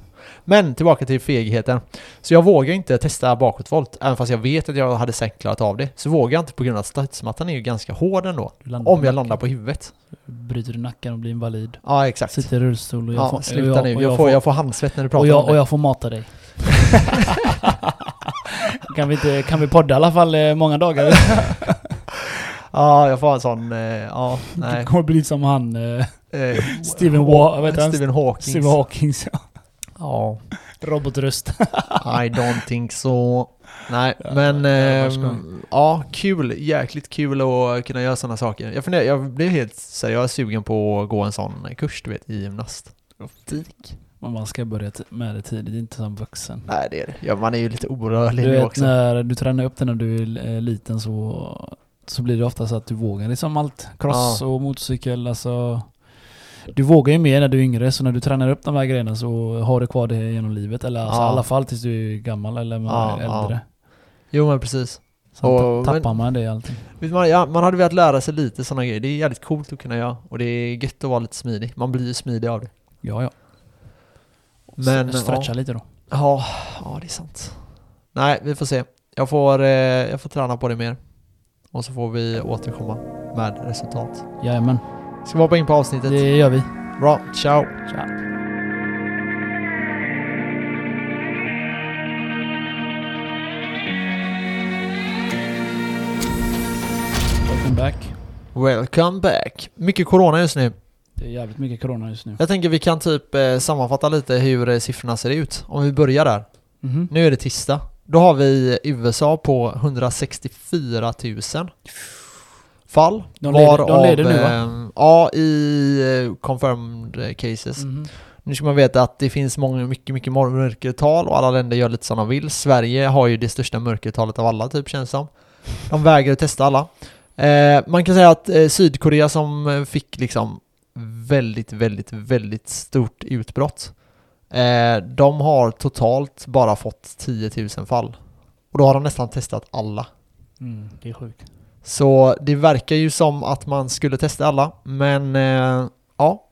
Speaker 1: Men tillbaka till fegheten. Så jag vågar inte testa bakåtvolt, även fast jag vet att jag hade säkert klarat av det. Så vågar jag inte på grund av att studsmattan är ju ganska hård ändå.
Speaker 2: Du landar
Speaker 1: Om jag
Speaker 2: nacken.
Speaker 1: landar på huvudet.
Speaker 2: Bryter du nacken och blir invalid.
Speaker 1: Ja, exakt.
Speaker 2: Sitter i rullstol och jag
Speaker 1: Ja,
Speaker 2: får...
Speaker 1: sluta nu.
Speaker 2: och
Speaker 1: Jag får, jag får handsvett när du pratar
Speaker 2: och,
Speaker 1: om
Speaker 2: jag,
Speaker 1: det.
Speaker 2: och jag får mata dig. kan, vi inte, kan vi podda i alla fall eh, många dagar?
Speaker 1: Ja, jag får en sån... eh, Ja,
Speaker 2: Det
Speaker 1: nej.
Speaker 2: kommer bli som han... Eh,
Speaker 1: Eh,
Speaker 2: Stephen Wa- vad heter han?
Speaker 1: Stephen Hawking.
Speaker 2: Stephen Hawkings
Speaker 1: Ja,
Speaker 2: robotröst.
Speaker 1: I don't think so. Nej, men... ehm,
Speaker 2: vars gång.
Speaker 1: ja, kul. Jäkligt kul att kunna göra sådana saker. Jag, funderar, jag blev helt seriöst sugen på att gå en sån kurs, du vet, i gymnastik.
Speaker 2: Men man ska börja t- med det tidigt, inte som vuxen.
Speaker 1: Nej, det är det. Ja, man är ju lite orörlig
Speaker 2: Du
Speaker 1: nu
Speaker 2: vet
Speaker 1: också.
Speaker 2: när du tränar upp det när du är eh, liten så, så blir det ofta så att du vågar liksom allt. Cross och motorcykel alltså. Du vågar ju mer när du är yngre så när du tränar upp de här grejerna så har du kvar det genom livet. Eller alltså,
Speaker 1: Ja.
Speaker 2: i alla fall tills du är gammal eller
Speaker 1: Ja,
Speaker 2: äldre.
Speaker 1: Jo, men precis.
Speaker 2: Sen
Speaker 1: Och-
Speaker 2: ta- tappar man det i allting.
Speaker 1: Vet Man, ja, man hade velat lära sig lite sådana grejer. Det är jävligt coolt att kunna göra. Och det är gött att vara lite smidig. Man blir ju smidig av det.
Speaker 2: Ja, ja.
Speaker 1: Men,
Speaker 2: Men, Stretcha lite då.
Speaker 1: Ja, ja det är sant. Nej, vi får se. Jag får, eh, jag får träna på det mer. Och så får vi återkomma med resultat.
Speaker 2: Jajamän,
Speaker 1: Ska vi hoppa in på avsnittet?
Speaker 2: det gör vi.
Speaker 1: Bra, ciao!
Speaker 2: Tja. Welcome back.
Speaker 1: Welcome back! Mycket corona just nu.
Speaker 2: Det är jävligt mycket corona just nu.
Speaker 1: Jag tänker vi kan typ eh, sammanfatta lite hur eh, siffrorna ser ut. Om vi börjar där.
Speaker 2: Mhm.
Speaker 1: Nu är det tisdag. Då har vi USA på 164 000 fall.
Speaker 2: De leder- de leder nu, va?
Speaker 1: eh, Ja, i eh, confirmed cases.
Speaker 2: Mhm.
Speaker 1: Nu ska man veta att det finns många, mycket, mycket mörkertal och alla länder gör lite som de vill. Sverige har ju det största mörkertalet av alla typ känns som. De vägrar att testa alla. Eh, man kan säga att eh, Sydkorea som eh, fick liksom väldigt, väldigt, väldigt stort utbrott. Eh, de har totalt bara fått 10 000 fall. Och då har de nästan testat alla.
Speaker 2: Mm, det är sjukt.
Speaker 1: Så det verkar ju som att man skulle testa alla, men eh, ja,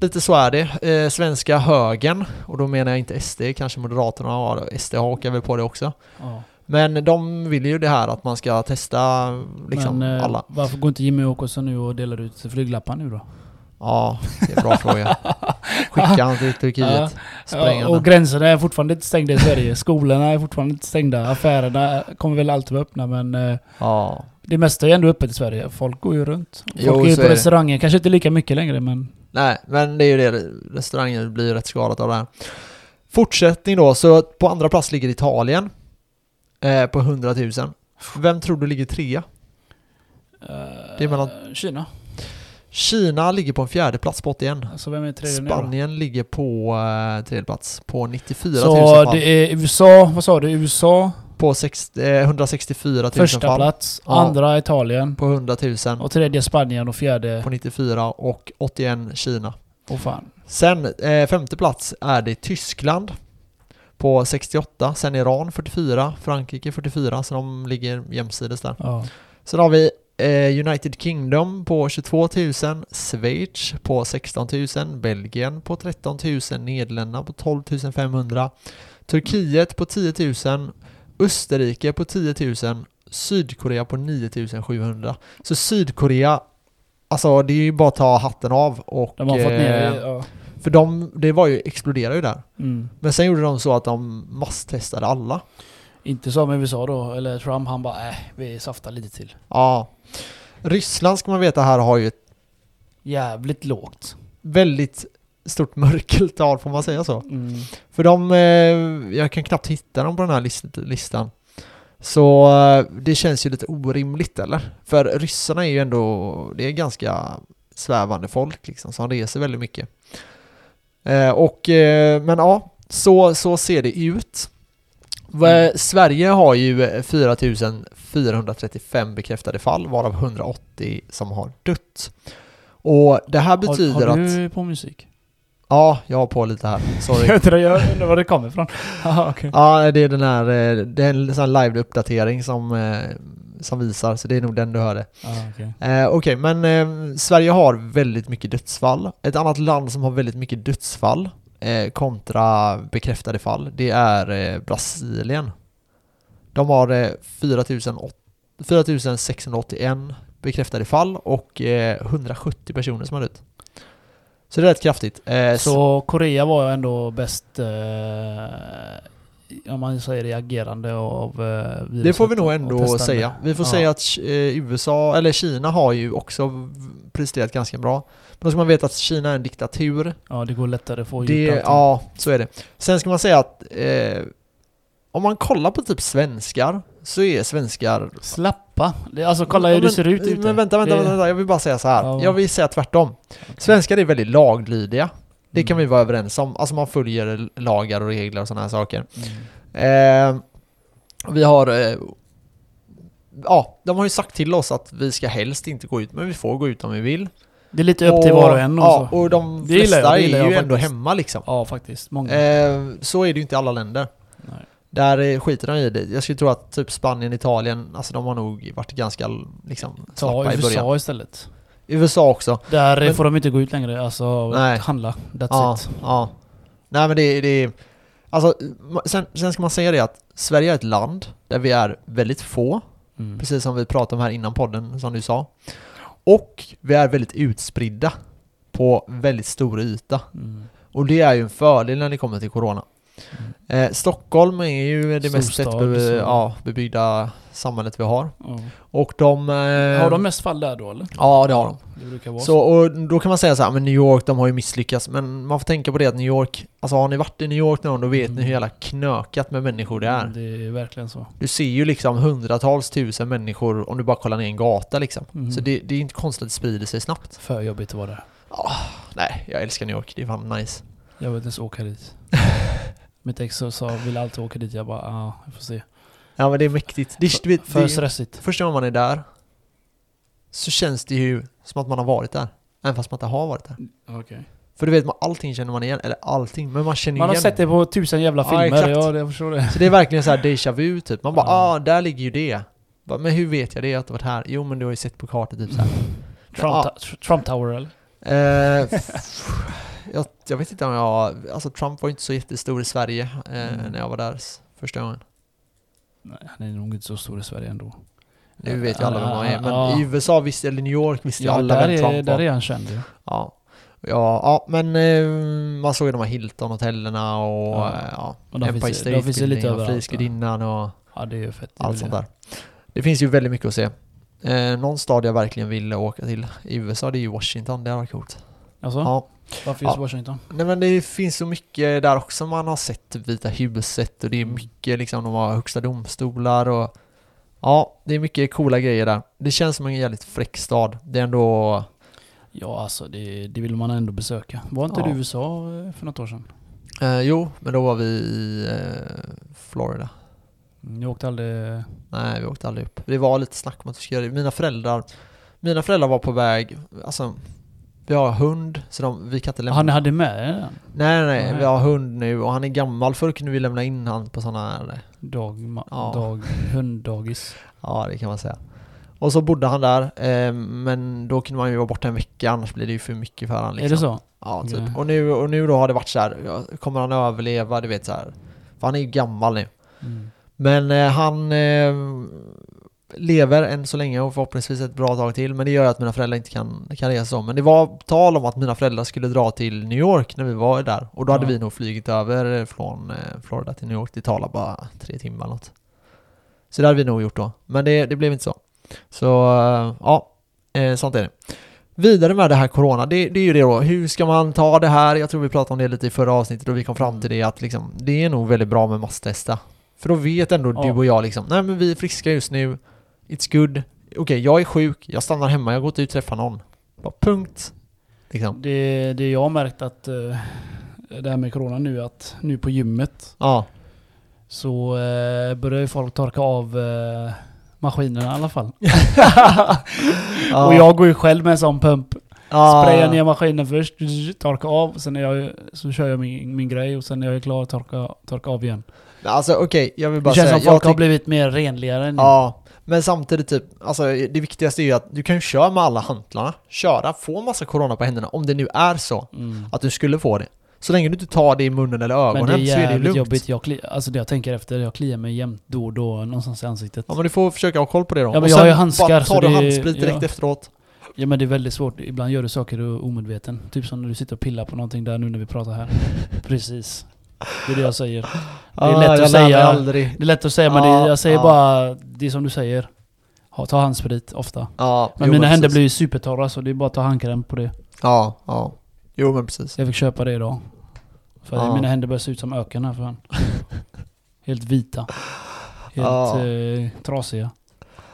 Speaker 1: lite så är det. Eh, svenska högen, och då menar jag inte SD, kanske Moderaterna har, SD hakar väl på det också.
Speaker 2: Ja.
Speaker 1: Men de vill ju det här att man ska testa liksom
Speaker 2: Men eh,
Speaker 1: alla.
Speaker 2: varför går inte Jimmy Åkesson nu och delar ut flyglappar nu då?
Speaker 1: Ja, det är en bra fråga. Skicka han till Turkiet. Spräng
Speaker 2: Ja, och
Speaker 1: han.
Speaker 2: gränserna är fortfarande inte stängda i Sverige. Skolorna är fortfarande inte stängda. Affärerna kommer väl alltid vara öppna men eh,
Speaker 1: Ja,
Speaker 2: det mesta är ändå öppet i Sverige. Folk går ju runt. Folk
Speaker 1: Jo,
Speaker 2: är ju
Speaker 1: så
Speaker 2: på
Speaker 1: är det.
Speaker 2: restauranger. Kanske inte lika mycket längre men...
Speaker 1: Nej, men det är ju det. Restaurangen blir ju rätt skadat av det här. Fortsättning då, så på andra plats ligger Italien. Eh, på 100 000. Vem tror du ligger trea? Det är mellan-
Speaker 2: eh, Kina.
Speaker 1: Kina ligger på en fjärde plats på 81.
Speaker 2: Alltså vem är tredje nu då?
Speaker 1: Spanien ligger på eh, tredje plats på 94 000
Speaker 2: Så
Speaker 1: fall.
Speaker 2: det är USA, vad sa du? USA,
Speaker 1: På sex, eh, 164 000
Speaker 2: första
Speaker 1: fall.
Speaker 2: plats,
Speaker 1: Ja.
Speaker 2: andra Italien,
Speaker 1: På 100 000.
Speaker 2: och tredje Spanien och fjärde...
Speaker 1: På 94 och 81 Kina.
Speaker 2: Åh fan.
Speaker 1: Sen eh, femte plats är det Tyskland på 68, sen Iran 44, Frankrike 44, så de ligger jämsides där.
Speaker 2: Ja.
Speaker 1: Sen har vi eh, United Kingdom på 22 000, Schweiz på 16 000, Belgien på 13 000, Nederländerna på 12 500, Turkiet på 10 000, Österrike på 10 000, Sydkorea på 9 700. Så Sydkorea, alltså det är ju bara att ta hatten av och...
Speaker 2: De har fått
Speaker 1: eh,
Speaker 2: ner... Ja.
Speaker 1: för de, det var ju, exploderade ju där.
Speaker 2: Mm.
Speaker 1: Men sen gjorde de så att de masstestade alla.
Speaker 2: Inte som USA då, eller Trump, han bara äh, vi saftar lite till.
Speaker 1: Ja. Ryssland ska man veta här har ju ett
Speaker 2: Jävligt lågt.
Speaker 1: väldigt stort mörkeltal, får man säga så?
Speaker 2: Mm.
Speaker 1: För de, eh, jag kan knappt hitta dem på den här list- listan. Så eh, det känns ju lite orimligt eller? För ryssarna är ju ändå, det är ganska svävande folk liksom, som reser väldigt mycket. Eh, och, eh, men ja, så, så ser det ut. Va-
Speaker 2: Mm.
Speaker 1: Sverige har ju 4435 bekräftade fall, varav 180 som har dött. Och det här betyder
Speaker 2: har, har
Speaker 1: att...
Speaker 2: du på musik?
Speaker 1: Ja, jag har på lite här. Sorry.
Speaker 2: Jag undrar, jag undrar var det kommer ifrån. Aha, Ah, okej.
Speaker 1: Ja, det är den här, eh, det är en sån här live-uppdatering som, eh, som visar, så det är nog den du hörde.
Speaker 2: Ah, okej.
Speaker 1: Eh, Okej, men eh, Sverige har väldigt mycket dödsfall. Ett annat land som har väldigt mycket dödsfall eh, kontra bekräftade fall, det är eh, Brasilien. De har eh, 4800 4681 bekräftade fall och eh, 170 personer som har dött. Så det är rätt kraftigt. Eh,
Speaker 2: Så Korea var ju ändå bäst, eh, om man säger reagerande av eh, viruset.
Speaker 1: Det får vi nog
Speaker 2: och
Speaker 1: ändå
Speaker 2: testande.
Speaker 1: säga. Vi får
Speaker 2: Ja.
Speaker 1: säga att eh, USA, eller Kina har ju också v- presterat ganska bra. Men då ska man veta att Kina är en diktatur.
Speaker 2: Ja, det går lättare att få
Speaker 1: Det,
Speaker 2: gjort allting.
Speaker 1: ja, så är det. Sen ska man säga att eh, om man kollar på typ svenskar så är svenskar...
Speaker 2: Slappa. Det, alltså kolla hur
Speaker 1: Ja,
Speaker 2: det
Speaker 1: men-
Speaker 2: ser ut ute.
Speaker 1: Men vänta, vänta,
Speaker 2: Det- Mm.
Speaker 1: vänta, vänta. Jag vill bara säga så här.
Speaker 2: Ja.
Speaker 1: Jag vill säga tvärtom. Svenskar är väldigt laglydiga. Det kan vi
Speaker 2: Mm.
Speaker 1: vara överens om. Alltså man följer lagar och regler och sådana här saker.
Speaker 2: Mm.
Speaker 1: Eh, vi har... Eh, ja, de har ju sagt till oss att vi ska helst inte gå ut, men vi får gå ut om vi vill.
Speaker 2: Det är lite upp till var och en och
Speaker 1: Ja,
Speaker 2: så.
Speaker 1: och de
Speaker 2: Det gillar
Speaker 1: flesta
Speaker 2: jag, det gillar
Speaker 1: är ju
Speaker 2: jag
Speaker 1: ändå
Speaker 2: faktiskt.
Speaker 1: hemma liksom.
Speaker 2: Ja, faktiskt. Många.
Speaker 1: Eh, så är det ju inte i alla länder.
Speaker 2: Nej.
Speaker 1: Där eh, skiter de i det. Jag skulle tro att typ Spanien, Italien, alltså de har nog varit ganska liksom
Speaker 2: Ta
Speaker 1: slappa i början.
Speaker 2: USA istället.
Speaker 1: USA också.
Speaker 2: Där eh,
Speaker 1: Men-
Speaker 2: får de inte gå ut längre. Alltså,
Speaker 1: Nej.
Speaker 2: handla. That's
Speaker 1: Ja,
Speaker 2: it.
Speaker 1: ja. Nej men det, det Alltså, ma- sen, sen ska man säga det att Sverige är ett land där vi är väldigt få.
Speaker 2: Mm.
Speaker 1: precis som vi pratade om här innan podden, som du sa. Och vi är väldigt utspridda på väldigt stor yta.
Speaker 2: Mm.
Speaker 1: Och det är ju en fördel när det kommer till Corona. Eh, Stockholm är ju det mest
Speaker 2: Storstad,
Speaker 1: tättbe-
Speaker 2: så.
Speaker 1: ja, bebyggda samhället vi har.
Speaker 2: Ja.
Speaker 1: Och de... eh,
Speaker 2: Har de mest fall där då eller?
Speaker 1: Ja, det har de.
Speaker 2: Det brukar vara
Speaker 1: Så, och då kan man säga så här, men New York, de har ju misslyckats. Men man får tänka på det att New York, alltså har ni varit i New York någon gång, då vet
Speaker 2: Mm.
Speaker 1: ni hur jävla knökat med människor det är.
Speaker 2: Det är verkligen så.
Speaker 1: Du ser ju liksom hundratals tusen människor om du bara kollar ner en gata liksom.
Speaker 2: Mm.
Speaker 1: Så det, det är inte konstigt att det sprider sig snabbt.
Speaker 2: För jobbigt att vara där.
Speaker 1: Nej, jag älskar New York. Det är fan nice.
Speaker 2: Jag vill inte ens åka dit. Mitt ex så sa, vill alltid åka dit. Jag bara, ja, ah, jag får se.
Speaker 1: Ja men det är mäktigt. Det, du vet,
Speaker 2: För
Speaker 1: det,
Speaker 2: stressigt.
Speaker 1: första gången man är där så känns det ju som att man har varit där. Även fast man inte har varit där.
Speaker 2: Okej.
Speaker 1: För du vet, man, allting känner man igen. Eller allting, men man känner
Speaker 2: Man har
Speaker 1: igen.
Speaker 2: sett det på tusen jävla
Speaker 1: Ja,
Speaker 2: filmer.
Speaker 1: exakt.
Speaker 2: Ja, jag förstår det.
Speaker 1: Så det är verkligen så här déjà vu typ. Man bara
Speaker 2: Ja.
Speaker 1: ah, där ligger ju det. Bara, Men hur vet jag det? Jag har inte varit här. Jo men du har ju sett på kartan typ så här.
Speaker 2: Trump,
Speaker 1: Ja.
Speaker 2: ta- tr- Trump Tower eller?
Speaker 1: Eh, f- jag, jag vet inte om jag... Alltså Trump var ju inte så jättestor i Sverige eh,
Speaker 2: Mm.
Speaker 1: när jag var där s- första gången.
Speaker 2: Nej, han är nog inte så stor i Sverige ändå.
Speaker 1: Nu vet ju alla vem han är, men
Speaker 2: Eh, Ja.
Speaker 1: i USA visste, eller New York visste ju
Speaker 2: Ja,
Speaker 1: alla
Speaker 2: där
Speaker 1: vem
Speaker 2: är,
Speaker 1: Trump
Speaker 2: där
Speaker 1: var.
Speaker 2: är han känd ju.
Speaker 1: Ja. Ja, ja, men eh, man såg ju de här Hilton-hotellerna och
Speaker 2: Ja.
Speaker 1: ja. Ja,
Speaker 2: Och de
Speaker 1: Empire
Speaker 2: finns, de finns ju
Speaker 1: State
Speaker 2: lite
Speaker 1: Building och
Speaker 2: överallt.
Speaker 1: Frihetsgudinnan och
Speaker 2: Ja, det är ju fett. Det är
Speaker 1: allt
Speaker 2: ju
Speaker 1: sånt
Speaker 2: det.
Speaker 1: där. Det finns ju väldigt mycket att se. Eh, någon stad jag verkligen vill åka till i USA, det är ju Washington. Det hade varit coolt.
Speaker 2: Alltså,
Speaker 1: Ja.
Speaker 2: varför just
Speaker 1: Ja.
Speaker 2: Washington?
Speaker 1: Nej men det finns så mycket där också. Man har sett typ Vita huset och det är
Speaker 2: Mm.
Speaker 1: mycket liksom, de har högsta domstolar och ja, det är mycket coola grejer där. Det känns som en jävligt fräck stad. Det är ändå
Speaker 2: Ja, alltså det, det vill man ändå besöka. Var inte
Speaker 1: Ja.
Speaker 2: du i USA eh, för något år sedan?
Speaker 1: Eh, jo, men då var vi i eh, Florida.
Speaker 2: Mm, Jag åkte aldrig...
Speaker 1: Nej, vi åkte aldrig upp. Det var lite snack om att vi skulle göra det. Mina föräldrar, mina föräldrar var på väg, alltså vi har hund, så de, vi kan inte lämna...
Speaker 2: Han hade med er den?
Speaker 1: nej, nej, nej,
Speaker 2: Nej.
Speaker 1: vi har hund nu och han är gammal. Förr kunde vi lämna in han på sådana här, eh,
Speaker 2: Dag, ma-
Speaker 1: Ja.
Speaker 2: dag, hunddagis.
Speaker 1: ja det kan man säga. Och så bodde han där, eh, men då kunde man ju vara borta en vecka, annars blir det ju för mycket för han liksom.
Speaker 2: Är det så?
Speaker 1: Ja, typ.
Speaker 2: Okej.
Speaker 1: Och, nu, och nu då har det varit så här, ja, kommer han överleva? Du vet så här. För han är ju gammal nu.
Speaker 2: Mm.
Speaker 1: Men eh, han eh, lever än så länge och förhoppningsvis ett bra tag till. Men det gör ju att mina föräldrar inte kan, kan resa om. Men det var tal om att mina föräldrar skulle dra till New York när vi var där. Och då hade
Speaker 2: Ja.
Speaker 1: vi nog flugit över från eh, Florida till New York. Det talar bara tre timmar eller något. Så det hade vi nog gjort då. Men det, det blev inte så. Så eh, ja, eh, sånt är det. Vidare med det här corona, det, det är ju det då. Hur ska man ta det här? Jag tror vi pratade om det lite i förra avsnittet och vi kom fram till det att liksom, det är nog väldigt bra med masstesta. För då vet ändå
Speaker 2: Ja.
Speaker 1: du och jag liksom, nej men vi är friska just nu, it's good. Okej, jag är sjuk, jag stannar hemma, jag går inte ut och träffar någon. Bara punkt. Liksom.
Speaker 2: Det, det jag har märkt att eh, det här med corona nu, att nu på gymmet
Speaker 1: Ja,
Speaker 2: så eh, börjar ju folk torka av eh, maskinerna i alla fall.
Speaker 1: Ja.
Speaker 2: Och jag går ju själv med en sån pump.
Speaker 1: ja.
Speaker 2: Sprayar ner maskinen först, torka av, sen är jag, så kör jag min, min grej och sen är jag klar att torka, torka av igen.
Speaker 1: Alltså okej, jag vill bara
Speaker 2: Det känns
Speaker 1: säga...
Speaker 2: som folk
Speaker 1: jag
Speaker 2: har
Speaker 1: tyck-
Speaker 2: blivit mer renligare nu.
Speaker 1: Ja, men samtidigt typ, alltså det viktigaste är ju att du kan ju köra med alla hantlarna, köra, få massa corona på händerna, om det nu är så
Speaker 2: Mm.
Speaker 1: att du skulle få det. Så länge du inte tar det i munnen eller
Speaker 2: Men
Speaker 1: ögonen
Speaker 2: det
Speaker 1: så
Speaker 2: är
Speaker 1: är det ju
Speaker 2: jävligt
Speaker 1: lugnt.
Speaker 2: jobbigt. Jag, kli- alltså det jag tänker efter, jag kliar mig jämt då och då någonstans i ansiktet.
Speaker 1: Ja men du får försöka ha koll på det då.
Speaker 2: Ja, men
Speaker 1: Och
Speaker 2: jag
Speaker 1: sen
Speaker 2: har ju handskar,
Speaker 1: Bara
Speaker 2: så
Speaker 1: tar du
Speaker 2: det-
Speaker 1: handsprit direkt
Speaker 2: ja.
Speaker 1: efteråt.
Speaker 2: Ja men det är väldigt svårt. Ibland gör du saker och är omedveten. Typ som när du sitter och pillar på någonting där nu när vi pratar här. Precis. Det är det jag säger. Det är lätt
Speaker 1: jag
Speaker 2: att
Speaker 1: lär mig
Speaker 2: säga.
Speaker 1: aldrig.
Speaker 2: Det är lätt att säga men det,
Speaker 1: Ja,
Speaker 2: jag säger
Speaker 1: ja.
Speaker 2: bara det som du säger. Ha, ta handsprit ofta.
Speaker 1: Ja,
Speaker 2: Men
Speaker 1: jo,
Speaker 2: mina händer
Speaker 1: precis.
Speaker 2: blir ju supertorra så det är bara att ta handkräm på det.
Speaker 1: Ja, ja. Jo men precis.
Speaker 2: Jag fick köpa det idag. För
Speaker 1: Ja.
Speaker 2: mina händer börjar se ut som öken här för fan. Helt vita. Helt
Speaker 1: Ja.
Speaker 2: eh, trasiga.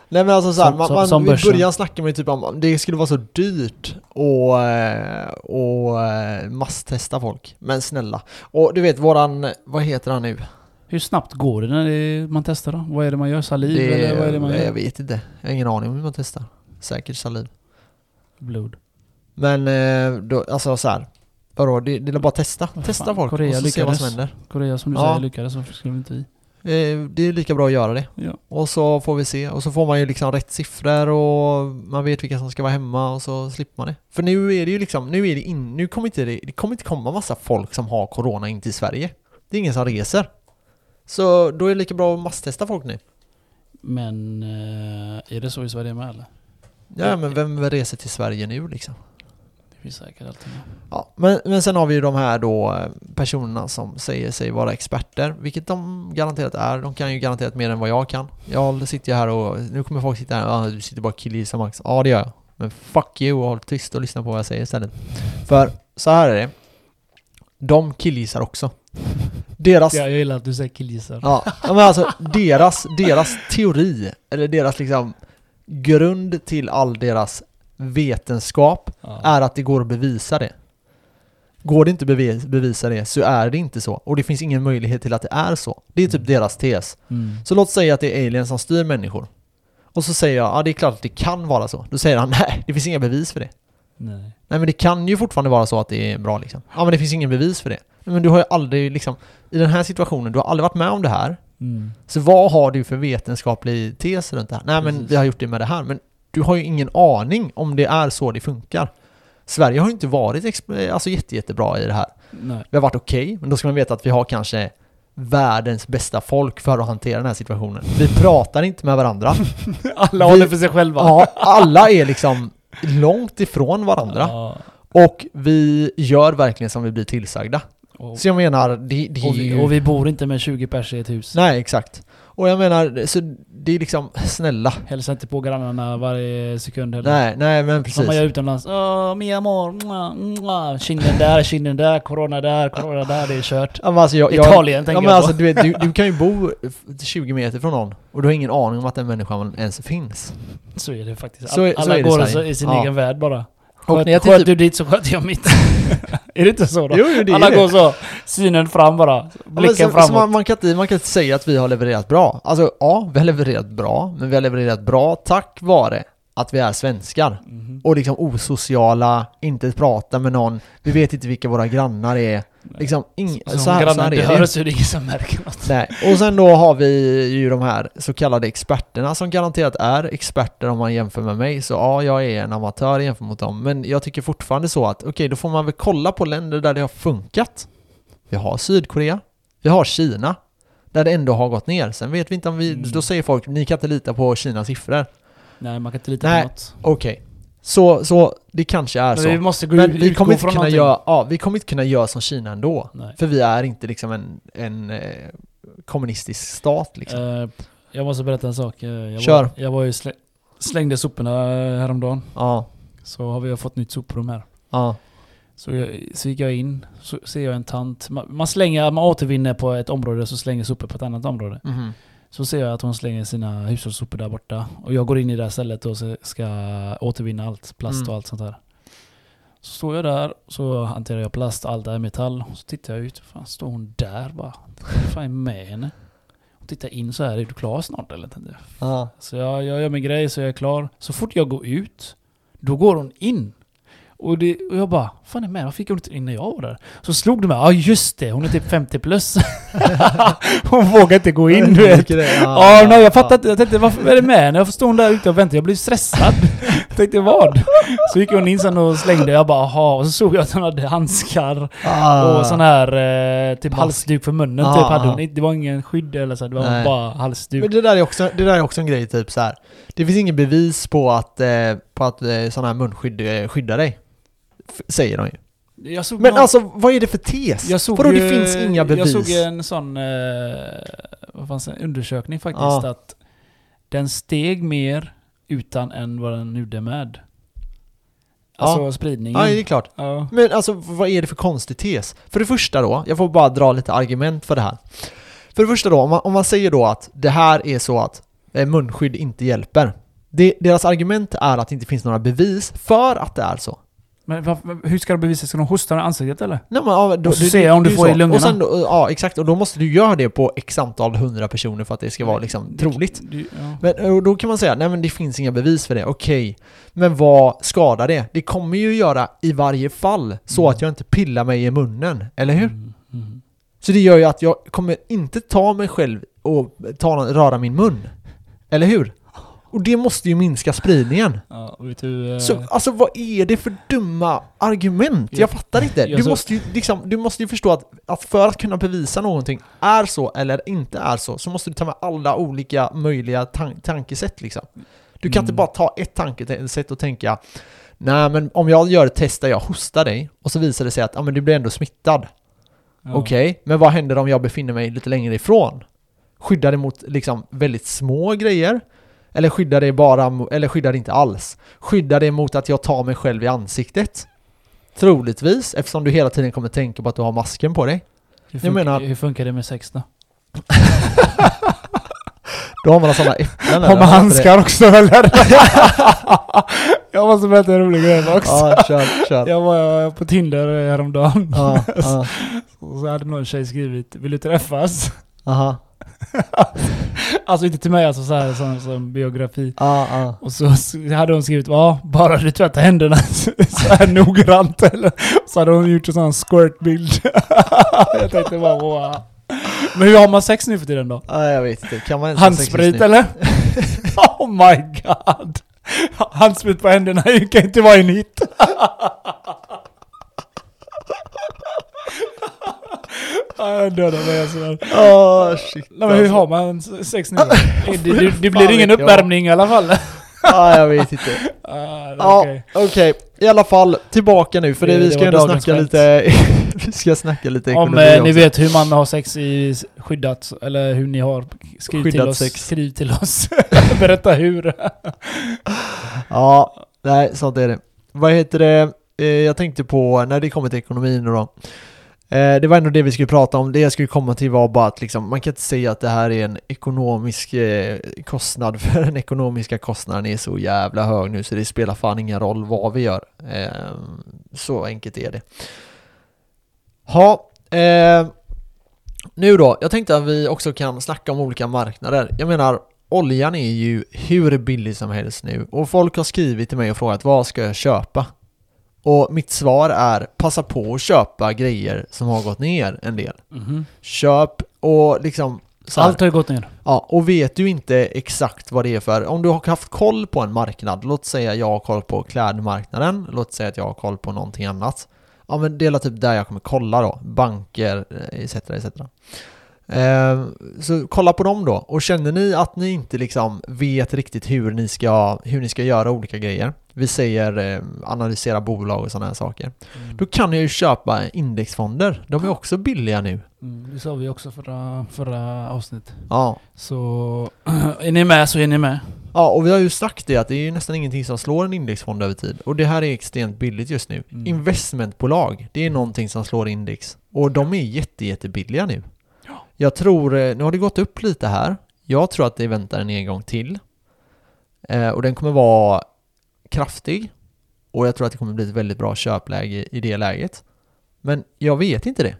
Speaker 1: Nej men alltså såhär,
Speaker 2: Som-
Speaker 1: man,
Speaker 2: som-
Speaker 1: man,
Speaker 2: som
Speaker 1: i
Speaker 2: börsen.
Speaker 1: början snackade man ju typ om det skulle vara så dyrt och, eh, och eh, masstesta folk. Men snälla. Och du vet våran, vad heter han nu?
Speaker 2: Hur snabbt går det när det, man testar då? Vad är det man gör? Saliv
Speaker 1: Det-
Speaker 2: eller vad är det man
Speaker 1: jag
Speaker 2: gör?
Speaker 1: vet inte. Jag har ingen aning om hur man testar. Säkert saliv.
Speaker 2: Blod.
Speaker 1: Men eh, då, alltså såhär, vadå? Det det är bara att testa.
Speaker 2: Vad
Speaker 1: Testa
Speaker 2: fan,
Speaker 1: folk
Speaker 2: Korea
Speaker 1: och så se vad
Speaker 2: lyckades.
Speaker 1: som händer.
Speaker 2: Korea som du
Speaker 1: Ja.
Speaker 2: säger lyckades, varför skulle inte vi?
Speaker 1: Eh, Det är lika bra att göra det.
Speaker 2: Ja.
Speaker 1: Och så får vi se. Och så får man ju liksom rätt siffror och man vet vilka som ska vara hemma och så slipper man det. För nu är det ju liksom, nu är det in, nu kommer inte det, det kommer inte komma massa folk som har corona in till Sverige. Det är ingen som reser. Så då är det lika bra att masstesta folk nu.
Speaker 2: Men eh, är det så i Sverige med eller?
Speaker 1: Ja men vem reser till Sverige nu liksom?
Speaker 2: Det finns säkert alltid med.
Speaker 1: Ja, men, men sen har vi ju de här då eh, personerna som säger sig vara experter, vilket de garanterat är. De kan ju garanterat mer än vad jag kan. Jag sitter ju här och, nu kommer folk sitta här och ah, du sitter bara och killgissar Max. Ja det gör jag. Men fuck you och håll tyst och lyssna på vad jag säger istället. För så här är det. De killgissar också. Deras
Speaker 2: jag gillar att du säger killgissar.
Speaker 1: Ja, ja, men alltså deras, deras teori, eller deras liksom grund till all deras vetenskap
Speaker 2: Ja.
Speaker 1: är att det går att bevisa det. Går det inte att bevi- bevisa det så är det inte så. Och det finns ingen möjlighet till att det är så. Det är typ
Speaker 2: Mm.
Speaker 1: deras tes.
Speaker 2: Mm.
Speaker 1: Så låt säga att det är aliens som styr människor. Och så säger jag, ja det är klart att det kan vara så. Då säger han, nej det finns inga bevis för det.
Speaker 2: Nej.
Speaker 1: Nej men det kan ju fortfarande vara så att det är bra liksom. Ja men det finns ingen bevis för det. Nej, Men du har ju aldrig liksom, i den här situationen, du har aldrig varit med om det här.
Speaker 2: Mm.
Speaker 1: Så vad har du för vetenskaplig tes runt det här? Nej men
Speaker 2: Precis.
Speaker 1: vi har gjort det med det här, men du har ju ingen aning om det är så det funkar. Sverige har ju inte varit exp- alltså jätte, jättebra i det här.
Speaker 2: Nej.
Speaker 1: Vi har varit okej, men då ska man veta att vi har kanske världens bästa folk för att hantera den här situationen. Vi pratar inte med varandra.
Speaker 2: Alla
Speaker 1: Vi-
Speaker 2: håller för sig själva.
Speaker 1: Ja, alla är liksom långt ifrån varandra.
Speaker 2: Ja.
Speaker 1: Och vi gör verkligen som vi blir tillsagda.
Speaker 2: Och,
Speaker 1: Så jag menar, det, det är
Speaker 2: och, vi,
Speaker 1: ju...
Speaker 2: och vi bor inte med 20 pers i ett hus.
Speaker 1: Nej, exakt. Och jag menar, så det är liksom, snälla,
Speaker 2: Hälsa inte på grannarna varje sekund heller.
Speaker 1: Nej, nej men precis.
Speaker 2: Som man gör utomlands. Åh, mi amor. Mwah, mwah. Kinden där, kinden där, corona där, corona där. Det är kört.
Speaker 1: Ja, men alltså, jag, jag,
Speaker 2: Italien
Speaker 1: ja,
Speaker 2: tänker
Speaker 1: men
Speaker 2: jag på.
Speaker 1: alltså, du, vet, du, du kan ju bo f- 20 meter från någon och du har ingen aning om att den människan ens finns.
Speaker 2: Så är det faktiskt.
Speaker 1: Så är- så
Speaker 2: Alla
Speaker 1: är det i
Speaker 2: går
Speaker 1: Sverige.
Speaker 2: i sin
Speaker 1: Ja.
Speaker 2: egen värld bara.
Speaker 1: Och
Speaker 2: Sköt,
Speaker 1: när jag
Speaker 2: sköt
Speaker 1: tittar-
Speaker 2: du dit så sköter jag mitt. är det inte så då?
Speaker 1: Jo, jo, det är
Speaker 2: Alla
Speaker 1: det.
Speaker 2: går så. Synen fram bara.
Speaker 1: Ja, men
Speaker 2: Blicken
Speaker 1: så,
Speaker 2: framåt.
Speaker 1: Så man, man, kan inte, man kan inte säga att vi har levererat bra. Alltså ja, vi har levererat bra, men vi har levererat bra tack vare att vi är svenskar.
Speaker 2: Mhm.
Speaker 1: Och liksom osociala, inte prata med någon, vi vet inte vilka våra grannar är. Liksom, ing,
Speaker 2: Som
Speaker 1: så här, så
Speaker 2: grannar
Speaker 1: här
Speaker 2: inte
Speaker 1: är
Speaker 2: hör
Speaker 1: det.
Speaker 2: så är det ingen som märker något.
Speaker 1: Nej. Och sen då har vi ju de här så kallade experterna som garanterat är experter om man jämför med mig. Så ja, jag är en amatör jämfört mot dem. Men jag tycker fortfarande så att okej, då får man väl kolla på länder där det har funkat. Vi har Sydkorea, vi har Kina, där det ändå har gått ner. Sen vet vi inte om vi...
Speaker 2: Mm.
Speaker 1: Då säger folk, ni kan inte lita på Kinas siffror.
Speaker 2: Nej, man kan inte lita
Speaker 1: Nej.
Speaker 2: på något.
Speaker 1: Okej. Så, så det kanske är
Speaker 2: Men vi
Speaker 1: så.
Speaker 2: måste gå
Speaker 1: Men
Speaker 2: ut,
Speaker 1: vi
Speaker 2: utgå
Speaker 1: kommer, inte
Speaker 2: från
Speaker 1: kunna
Speaker 2: någonting.
Speaker 1: göra, ja, vi kommer inte kunna göra som Kina ändå.
Speaker 2: Nej.
Speaker 1: För vi är inte liksom en, en eh, kommunistisk stat liksom.
Speaker 2: Eh, jag måste berätta en sak. Eh, Jag
Speaker 1: Kör.
Speaker 2: Var, jag var ju slä- slängde soporna eh, häromdagen.
Speaker 1: Ja,
Speaker 2: Så har vi fått nytt soprum här.
Speaker 1: ja.
Speaker 2: Så, jag, så gick jag in, så ser jag en tant. Man, man slänger, man återvinner på ett område, så slänger sopor på ett annat område.
Speaker 1: Mhm.
Speaker 2: Så ser jag att hon slänger sina hushållssopor där borta. Och jag går in i det här stället och så ska återvinna allt. Plast
Speaker 1: Mm.
Speaker 2: och allt sånt där. Så står jag där, så hanterar jag plast, allt är metall. Så tittar jag ut, fan står hon där bara? Vad fan är med henne? Och tittar in så här, är du klar snart eller? Tänkte jag.
Speaker 1: Ja.
Speaker 2: Så jag, jag gör min grej så jag är klar. Så fort jag går ut, då går hon in. Och, det, och jag bara, fan är med? Varför fick hon inte in när jag var där? Så slog de mig, ja just det, hon är typ 50 plus. hon vågar inte gå in du vet.
Speaker 1: Tycker det,
Speaker 2: Ja, nej,
Speaker 1: Ah.
Speaker 2: jag fattar inte. Jag tänkte, varför vad är det med när Jag förstod hon där ute och väntade. Jag blev stressad. Jag tänkte, vad? Så gick hon in sen och slängde. Jag bara, aha. Och så såg jag att hon hade handskar
Speaker 1: Ah.
Speaker 2: och sån här eh, typ
Speaker 1: Mask.
Speaker 2: halsduk för munnen.
Speaker 1: Ja,
Speaker 2: typ hade
Speaker 1: ja.
Speaker 2: hon. inte. Det var ingen skydd eller så. Det var
Speaker 1: Nej.
Speaker 2: bara halsduk.
Speaker 1: Men det där, är också, det där är också en grej, typ så här. Det finns ingen bevis på att, eh, på att eh, sådana här munskydd eh, skyddar dig. F- säger de ju.
Speaker 2: Jag såg
Speaker 1: Men
Speaker 2: någon-
Speaker 1: alltså, vad är det för tes?
Speaker 2: jag såg
Speaker 1: Vadå,
Speaker 2: ju-
Speaker 1: det finns inga bevis?
Speaker 2: Jag såg en sån eh, vad fanns det, undersökning faktiskt.
Speaker 1: Ja.
Speaker 2: Att den steg mer utan än vad den gjorde med.
Speaker 1: Ja.
Speaker 2: Alltså spridningen.
Speaker 1: Ja, det är klart.
Speaker 2: Ja.
Speaker 1: Men alltså, vad är det för konstig tes? För det första då, jag får bara dra lite argument för det här. För det första då, om man, om man säger då att det här är så att eh, munskydd inte hjälper. Det, deras argument är att det inte finns några bevis för att det är så.
Speaker 2: Men varför, hur ska de bevisa? Ska de hosta i ansiktet eller?
Speaker 1: Nej, men, ja, då,
Speaker 2: Och så
Speaker 1: det-
Speaker 2: ser
Speaker 1: det-
Speaker 2: jag om
Speaker 1: det
Speaker 2: du
Speaker 1: är
Speaker 2: får
Speaker 1: så.
Speaker 2: i lungorna.
Speaker 1: Och sen, då- ja, exakt. Och då måste du göra det på x antal hundra personer för att det ska vara liksom troligt.
Speaker 2: Du, ja.
Speaker 1: Men och då kan man säga, nej men det finns inga bevis för det, okej. Men vad skadar det? Det kommer ju göra i varje fall så
Speaker 2: Mm.
Speaker 1: att jag inte pillar mig i munnen, eller hur?
Speaker 2: Mm, mm.
Speaker 1: Så det gör ju att jag kommer inte ta mig själv och ta, någon- röra min mun. Eller hur? Och det måste ju minska spridningen.
Speaker 2: Ja, och vet du, eh,
Speaker 1: Så alltså vad är det för dumma argument?
Speaker 2: Jag-
Speaker 1: Jag fattar inte.
Speaker 2: jag
Speaker 1: Du
Speaker 2: så-
Speaker 1: måste ju, liksom, du måste ju förstå att, att för att kunna bevisa någonting är så eller inte är så, så måste du ta med alla olika möjliga tan- tankesätt liksom. Du kan inte
Speaker 2: Mm.
Speaker 1: bara ta ett tankesätt och tänka Nej men om jag gör ett test där jag hostar dig och så visar det sig att ja, men du blir ändå smittad.
Speaker 2: ja.
Speaker 1: Okej, men vad händer om jag befinner mig lite längre ifrån? Skyddar det mot liksom väldigt små grejer? Eller skyddar det bara, mo- eller skyddar det inte alls? Skyddar det mot att jag tar mig själv i ansiktet? Troligtvis, eftersom du hela tiden kommer tänka på att du har masken på dig.
Speaker 2: Hur,
Speaker 1: jag
Speaker 2: funkar,
Speaker 1: menar-
Speaker 2: hur funkar det med sex då?
Speaker 1: Då har man sådana äpplen
Speaker 2: Har man
Speaker 1: eller?
Speaker 2: handskar också eller? jag måste berätta en rolig grej också.
Speaker 1: Ja, kör, kör.
Speaker 2: Jag var på Tinder häromdagen.
Speaker 1: Ja, ja,
Speaker 2: Och så hade någon tjej skrivit Vill du träffas?
Speaker 1: aha.
Speaker 2: Alltså inte till mig alltså så här som, som biografi.
Speaker 1: Ja, ja.
Speaker 2: Och så s- hade hon skrivit ja, bara du tvättar händerna så här noggrant eller? Så hade hon gjort en sån squirtbild. jag tänkte bara wow. Men hur har man sex nu för tiden då?
Speaker 1: Ja, jag vet inte. Kan man ens ha sex just
Speaker 2: Handsprit
Speaker 1: nu?
Speaker 2: eller? oh my god! Handsprit på händerna det kan inte vara en hit. Ja, Jag dödar mig alltså. Nej,
Speaker 1: Åh, shit.
Speaker 2: men hur
Speaker 1: alltså.
Speaker 2: har man sex nu? Det, det, det
Speaker 1: Fan
Speaker 2: blir
Speaker 1: vet
Speaker 2: ingen
Speaker 1: jag.
Speaker 2: uppvärmning i alla fall.
Speaker 1: Ja, jag vet inte.
Speaker 2: Ah,
Speaker 1: Ja,
Speaker 2: okej.
Speaker 1: okej. I alla fall, tillbaka nu för det,
Speaker 2: Det-
Speaker 1: vi
Speaker 2: det
Speaker 1: ska
Speaker 2: var
Speaker 1: ändå
Speaker 2: dagens
Speaker 1: snacka
Speaker 2: skämt.
Speaker 1: lite... vi ska snacka lite
Speaker 2: Om
Speaker 1: ekonomi
Speaker 2: eh, ni
Speaker 1: också.
Speaker 2: vet hur man har sex i skyddat, eller hur ni har, skriv till
Speaker 1: Skyddat
Speaker 2: oss.
Speaker 1: sex.
Speaker 2: Skriv till oss. Berätta hur.
Speaker 1: Ja, nej, sånt är det. Vad heter det? Eh, Jag tänkte på, när det kommer till ekonomin då. Eh, Det var ändå det vi skulle prata om. Det jag skulle komma till var bara att liksom, man kan inte säga att det här är en ekonomisk eh, kostnad, för den ekonomiska kostnaden är så jävla hög nu så det spelar fan ingen roll vad vi gör. Eh, Så enkelt är det. Ja, eh, nu då. Jag tänkte att vi också kan snacka om olika marknader. Jag menar, oljan är ju hur billig som helst nu och folk har skrivit till mig och frågat vad ska jag köpa? Och mitt svar är passa på att köpa grejer som har gått ner en del. Köp och liksom så här,
Speaker 2: Mhm. Allt har ju gått ner.
Speaker 1: ja, och vet du inte exakt vad det är för, om du har haft koll på en marknad, låt säga jag har koll på klädmarknaden, låt säga att jag har koll på någonting annat. Ja men det är typ där jag kommer kolla då, banker eh, etc. etc. Eh, så kolla på dem då, och känner ni att ni inte liksom vet riktigt hur ni ska, hur ni ska göra olika grejer, vi säger eh, analysera bolag och sådana här saker,
Speaker 2: Mm.
Speaker 1: då kan ni ju köpa indexfonder, de är också billiga nu.
Speaker 2: Mm, det sa vi också förra, förra avsnitt.
Speaker 1: Ja,
Speaker 2: Så är ni med så är ni med.
Speaker 1: Ja, och vi har ju sagt det att det är ju nästan ingenting som slår en indexfond över tid. Och det här är extremt billigt just nu.
Speaker 2: Mm.
Speaker 1: Investmentbolag, det är någonting som slår index. Och de är jätte, jättebilliga nu. Jag tror, eh, nu har det gått upp lite här. Jag tror att det väntar en nedgång till. Eh, och den kommer vara kraftig. Och jag tror att det kommer bli ett väldigt bra köpläge i det läget. Men jag vet inte det.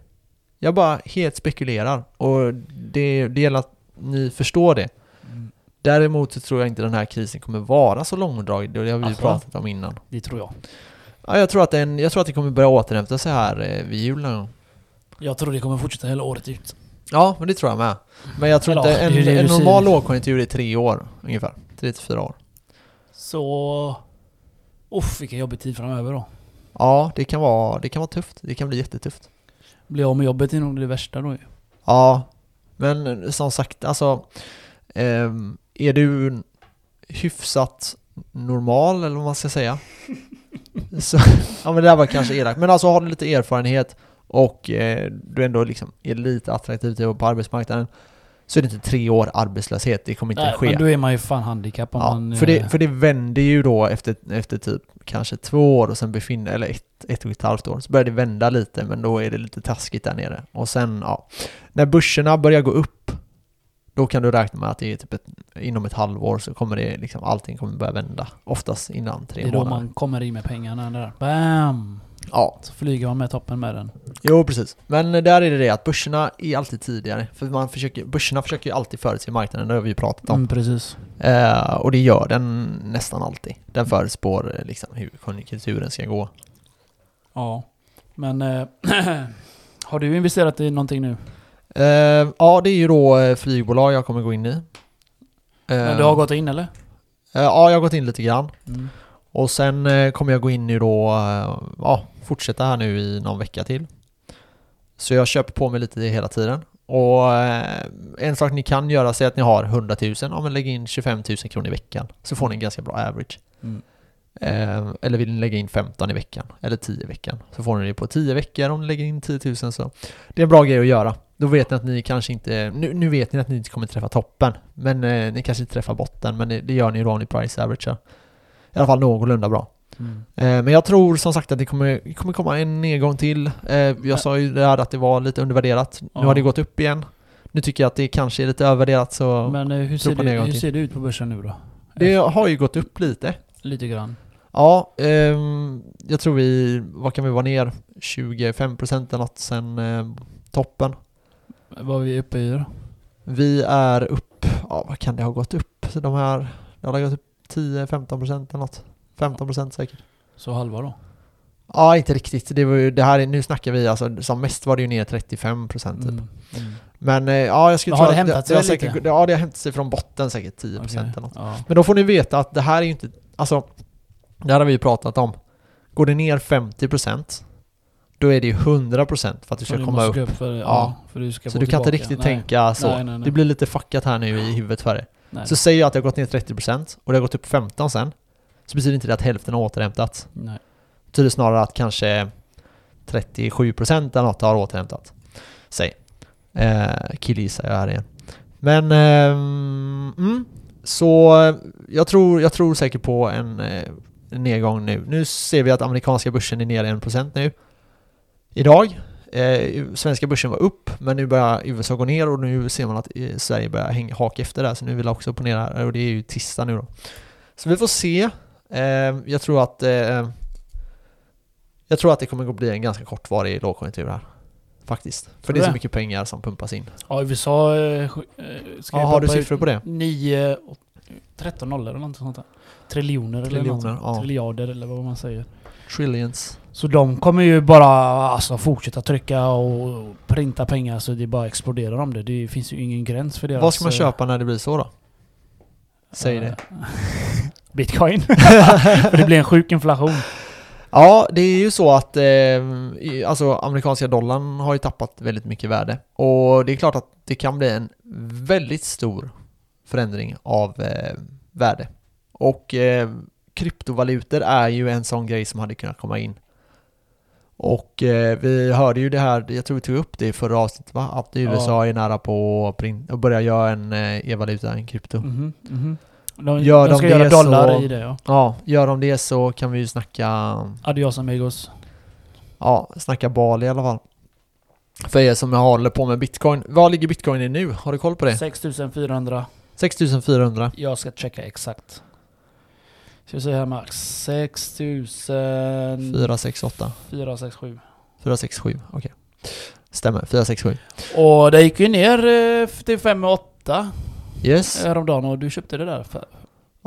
Speaker 1: Jag bara helt spekulerar. Och det, det gäller att ni förstår det.
Speaker 2: Mm,
Speaker 1: Däremot så tror jag inte den här krisen kommer vara så långdragen, det har vi ju
Speaker 2: Alltså?
Speaker 1: pratat om innan.
Speaker 2: det tror jag.
Speaker 1: Ja, jag, tror att den, jag tror att det kommer börja återhämta sig här eh, vid jul någon gång.
Speaker 2: Jag tror det kommer fortsätta hela året ut.
Speaker 1: Ja, men det tror jag med. Men jag tror
Speaker 2: Eller,
Speaker 1: inte,
Speaker 2: det är ju
Speaker 1: en,
Speaker 2: det
Speaker 1: en
Speaker 2: du säger.
Speaker 1: normal lågkonjunktur är tre år ungefär. Tre till fyra år.
Speaker 2: Så... Uff, vilken jobbig tid framöver då.
Speaker 1: Ja, det kan vara, det kan vara tufft. Det kan bli jättetufft.
Speaker 2: Bli av med jobbet är nog det värsta då ju.
Speaker 1: Ja, men som sagt, alltså... ehm, är du hyfsat normal, eller vad man ska säga? så, ja men det där var kanske elakt. Men alltså har du lite erfarenhet och eh, du ändå liksom är lite attraktiv till att vara på arbetsmarknaden så är det inte tre år arbetslöshet, det kommer inte
Speaker 2: Nej,
Speaker 1: ske.
Speaker 2: men då är man ju fan handikappad.
Speaker 1: Ja,
Speaker 2: man,
Speaker 1: för,
Speaker 2: eh,
Speaker 1: det, för det vänder ju då efter, efter typ kanske två år och sen befinner, eller ett, ett och ett halvt år, så börjar det vända lite men då är det lite taskigt där nere. Och sen, ja, när börserna börjar gå upp, då kan du räkna med att det är typ ett, inom ett halvår så kommer det liksom, allting kommer börja vända. Oftast innan
Speaker 2: det
Speaker 1: tre
Speaker 2: är då
Speaker 1: månader.
Speaker 2: man kommer in med pengarna där. Bam!
Speaker 1: Ja,
Speaker 2: Så flyger man med toppen med den.
Speaker 1: jo precis. Men eh, där är det det att börserna är alltid tidigare, för man försöker, börserna försöker ju alltid förutse marknaden, det har vi ju pratat om.
Speaker 2: Mm, precis.
Speaker 1: Eh, och det gör den nästan alltid. Den förutspår eh, liksom hur konjunkturen ska gå.
Speaker 2: Ja. Men... Eh, har du investerat i någonting nu?
Speaker 1: Eh, ja, det är ju då eh, flygbolag jag kommer gå in i. Eh,
Speaker 2: Men du har gått in eller?
Speaker 1: eh, ja, jag har gått in lite grann.
Speaker 2: Mm.
Speaker 1: Och sen eh, kommer jag gå in i då, eh, ja, fortsätta här nu i någon vecka till. Så jag köper på mig lite hela tiden. Och eh, en sak ni kan göra, säg att ni har 100 000, ja men lägg in 25 000 kronor i veckan. Så får ni en ganska bra average.
Speaker 2: Mm.
Speaker 1: Eh, eller vill ni lägga in 15 i veckan, eller 10 i veckan. Så får ni det på 10 veckor om ni lägger in 10 000 så. Det är en bra grej att göra. Då vet ni att ni kanske inte, nu, nu vet ni att ni inte kommer träffa toppen. Men eh, ni kanske inte träffar botten, men det, det gör ni ju då om ni price averagear. I alla fall någorlunda bra.
Speaker 2: Mm.
Speaker 1: Eh, Men jag tror som sagt att det kommer, det kommer komma en nedgång till. Eh, Jag sa ju där att det var lite undervärderat. Nu
Speaker 2: Ja.
Speaker 1: har det gått upp igen. Nu tycker jag att det kanske är lite övervärderat så...
Speaker 2: Men eh, hur, ser
Speaker 1: Tror på
Speaker 2: det,
Speaker 1: nedgång
Speaker 2: hur
Speaker 1: till.
Speaker 2: ser det ut på börsen nu då?
Speaker 1: det har ju gått upp lite.
Speaker 2: Lite grann.
Speaker 1: Ja, ehm, jag tror vi... Vad kan vi vara ner? 25% eller något sen eh, toppen.
Speaker 2: Vad är vi uppe i då?
Speaker 1: Vi är upp... Ja, vad kan det ha gått upp? Så De här... Det har gått upp 10-15% eller något. 15% säkert.
Speaker 2: Så halva då?
Speaker 1: Ja, inte riktigt. Det var ju, det här, är- nu snackar vi alltså, som mest var det ju ner 35% typ.
Speaker 2: Mm. Mm.
Speaker 1: Men eh, ja, jag skulle
Speaker 2: Men har
Speaker 1: tro
Speaker 2: det
Speaker 1: att
Speaker 2: hämtat
Speaker 1: det,
Speaker 2: sig
Speaker 1: har
Speaker 2: lite?
Speaker 1: säkert- Ja, det har hämtat sig från botten säkert 10% eller
Speaker 2: Okej.
Speaker 1: något.
Speaker 2: Ja.
Speaker 1: Men då får ni veta att det här är ju inte, alltså, det här har vi ju pratat om. Går det ner 50% då är det ju 100% för att du ska
Speaker 2: Ja,
Speaker 1: komma upp.
Speaker 2: måste gå För, ja.
Speaker 1: Ja.
Speaker 2: för du ska
Speaker 1: Så
Speaker 2: få
Speaker 1: du kan inte
Speaker 2: tillbaka.
Speaker 1: riktigt
Speaker 2: Nej.
Speaker 1: tänka så.
Speaker 2: Nej, nej, nej.
Speaker 1: Det blir lite fuckat här nu i huvudet för dig.
Speaker 2: Nej.
Speaker 1: Så säger jag att det har gått ner 30% och det har gått upp 15% sen, så betyder inte det att hälften har återhämtats.
Speaker 2: Nej.
Speaker 1: Det betyder snarare att kanske 37% eller något har återhämtat sig. Eh, killgissar jag här igen. Men, ehm, mm, så eh, jag tror, jag tror säkert på en eh, nedgång nu. Nu ser vi att amerikanska börsen är ner 1% nu. Idag. Eh, svenska börsen var upp, men nu börjar USA gå ner och nu ser man att eh, Sverige börjar häng, haka efter där, så nu vill jag också upp och ner här och det är ju tisdag nu då. Så vi får se. Eh, jag tror att eh, jag tror att det kommer att bli en ganska kortvarig lågkonjunktur här. Faktiskt. För
Speaker 2: Tror
Speaker 1: det är
Speaker 2: du
Speaker 1: så
Speaker 2: det?
Speaker 1: mycket pengar som pumpas in.
Speaker 2: Ja, USA eh, sj- eh, ska
Speaker 1: Ja,
Speaker 2: ju
Speaker 1: har du
Speaker 2: pumpa ut
Speaker 1: siffror på det?
Speaker 2: 9... och 13 nollor eller något sånt där. Triljoner, eller
Speaker 1: Triljoner,
Speaker 2: något.
Speaker 1: ja.
Speaker 2: Triljarder eller vad man säger.
Speaker 1: Trillions.
Speaker 2: Så de kommer ju bara alltså, fortsätta trycka och printa pengar så det bara exploderar om det. Det finns ju ingen gräns för deras...
Speaker 1: Vad ska man
Speaker 2: eh,
Speaker 1: köpa när det blir så då? Säg
Speaker 2: eh,
Speaker 1: det.
Speaker 2: Bitcoin. för det blir en sjuk inflation.
Speaker 1: Ja, det är ju så att eh, i- alltså, amerikanska dollarn har ju tappat väldigt mycket värde. Och det är klart att det kan bli en väldigt stor förändring av eh, värde. Och eh, kryptovalutor är ju en sån grej som hade kunnat komma in. Och eh, vi hörde ju det här, jag tror vi tog upp det i förra avsnittet va? Att USA är nära på att print- att börja göra en eh, e-valuta, en krypto.
Speaker 2: Mhm, mhm. De,
Speaker 1: Gör
Speaker 2: de
Speaker 1: de
Speaker 2: ska
Speaker 1: det
Speaker 2: göra dollar
Speaker 1: så-
Speaker 2: i det ja.
Speaker 1: Ja, gör de det så kan vi ju snacka,
Speaker 2: Adios amigos.
Speaker 1: ja, snacka Bali i alla fall. För er som håller på med bitcoin. Vad ligger bitcoin i nu? Har du koll på det?
Speaker 2: 6400.
Speaker 1: 6400.
Speaker 2: Jag ska checka exakt. Ska vi se här Max. 6467.
Speaker 1: 468. 467. Okej. Stämmer. 467.
Speaker 2: Och det gick ju ner eh, till 5,8
Speaker 1: Yes.
Speaker 2: häromdagen och du köpte det där. För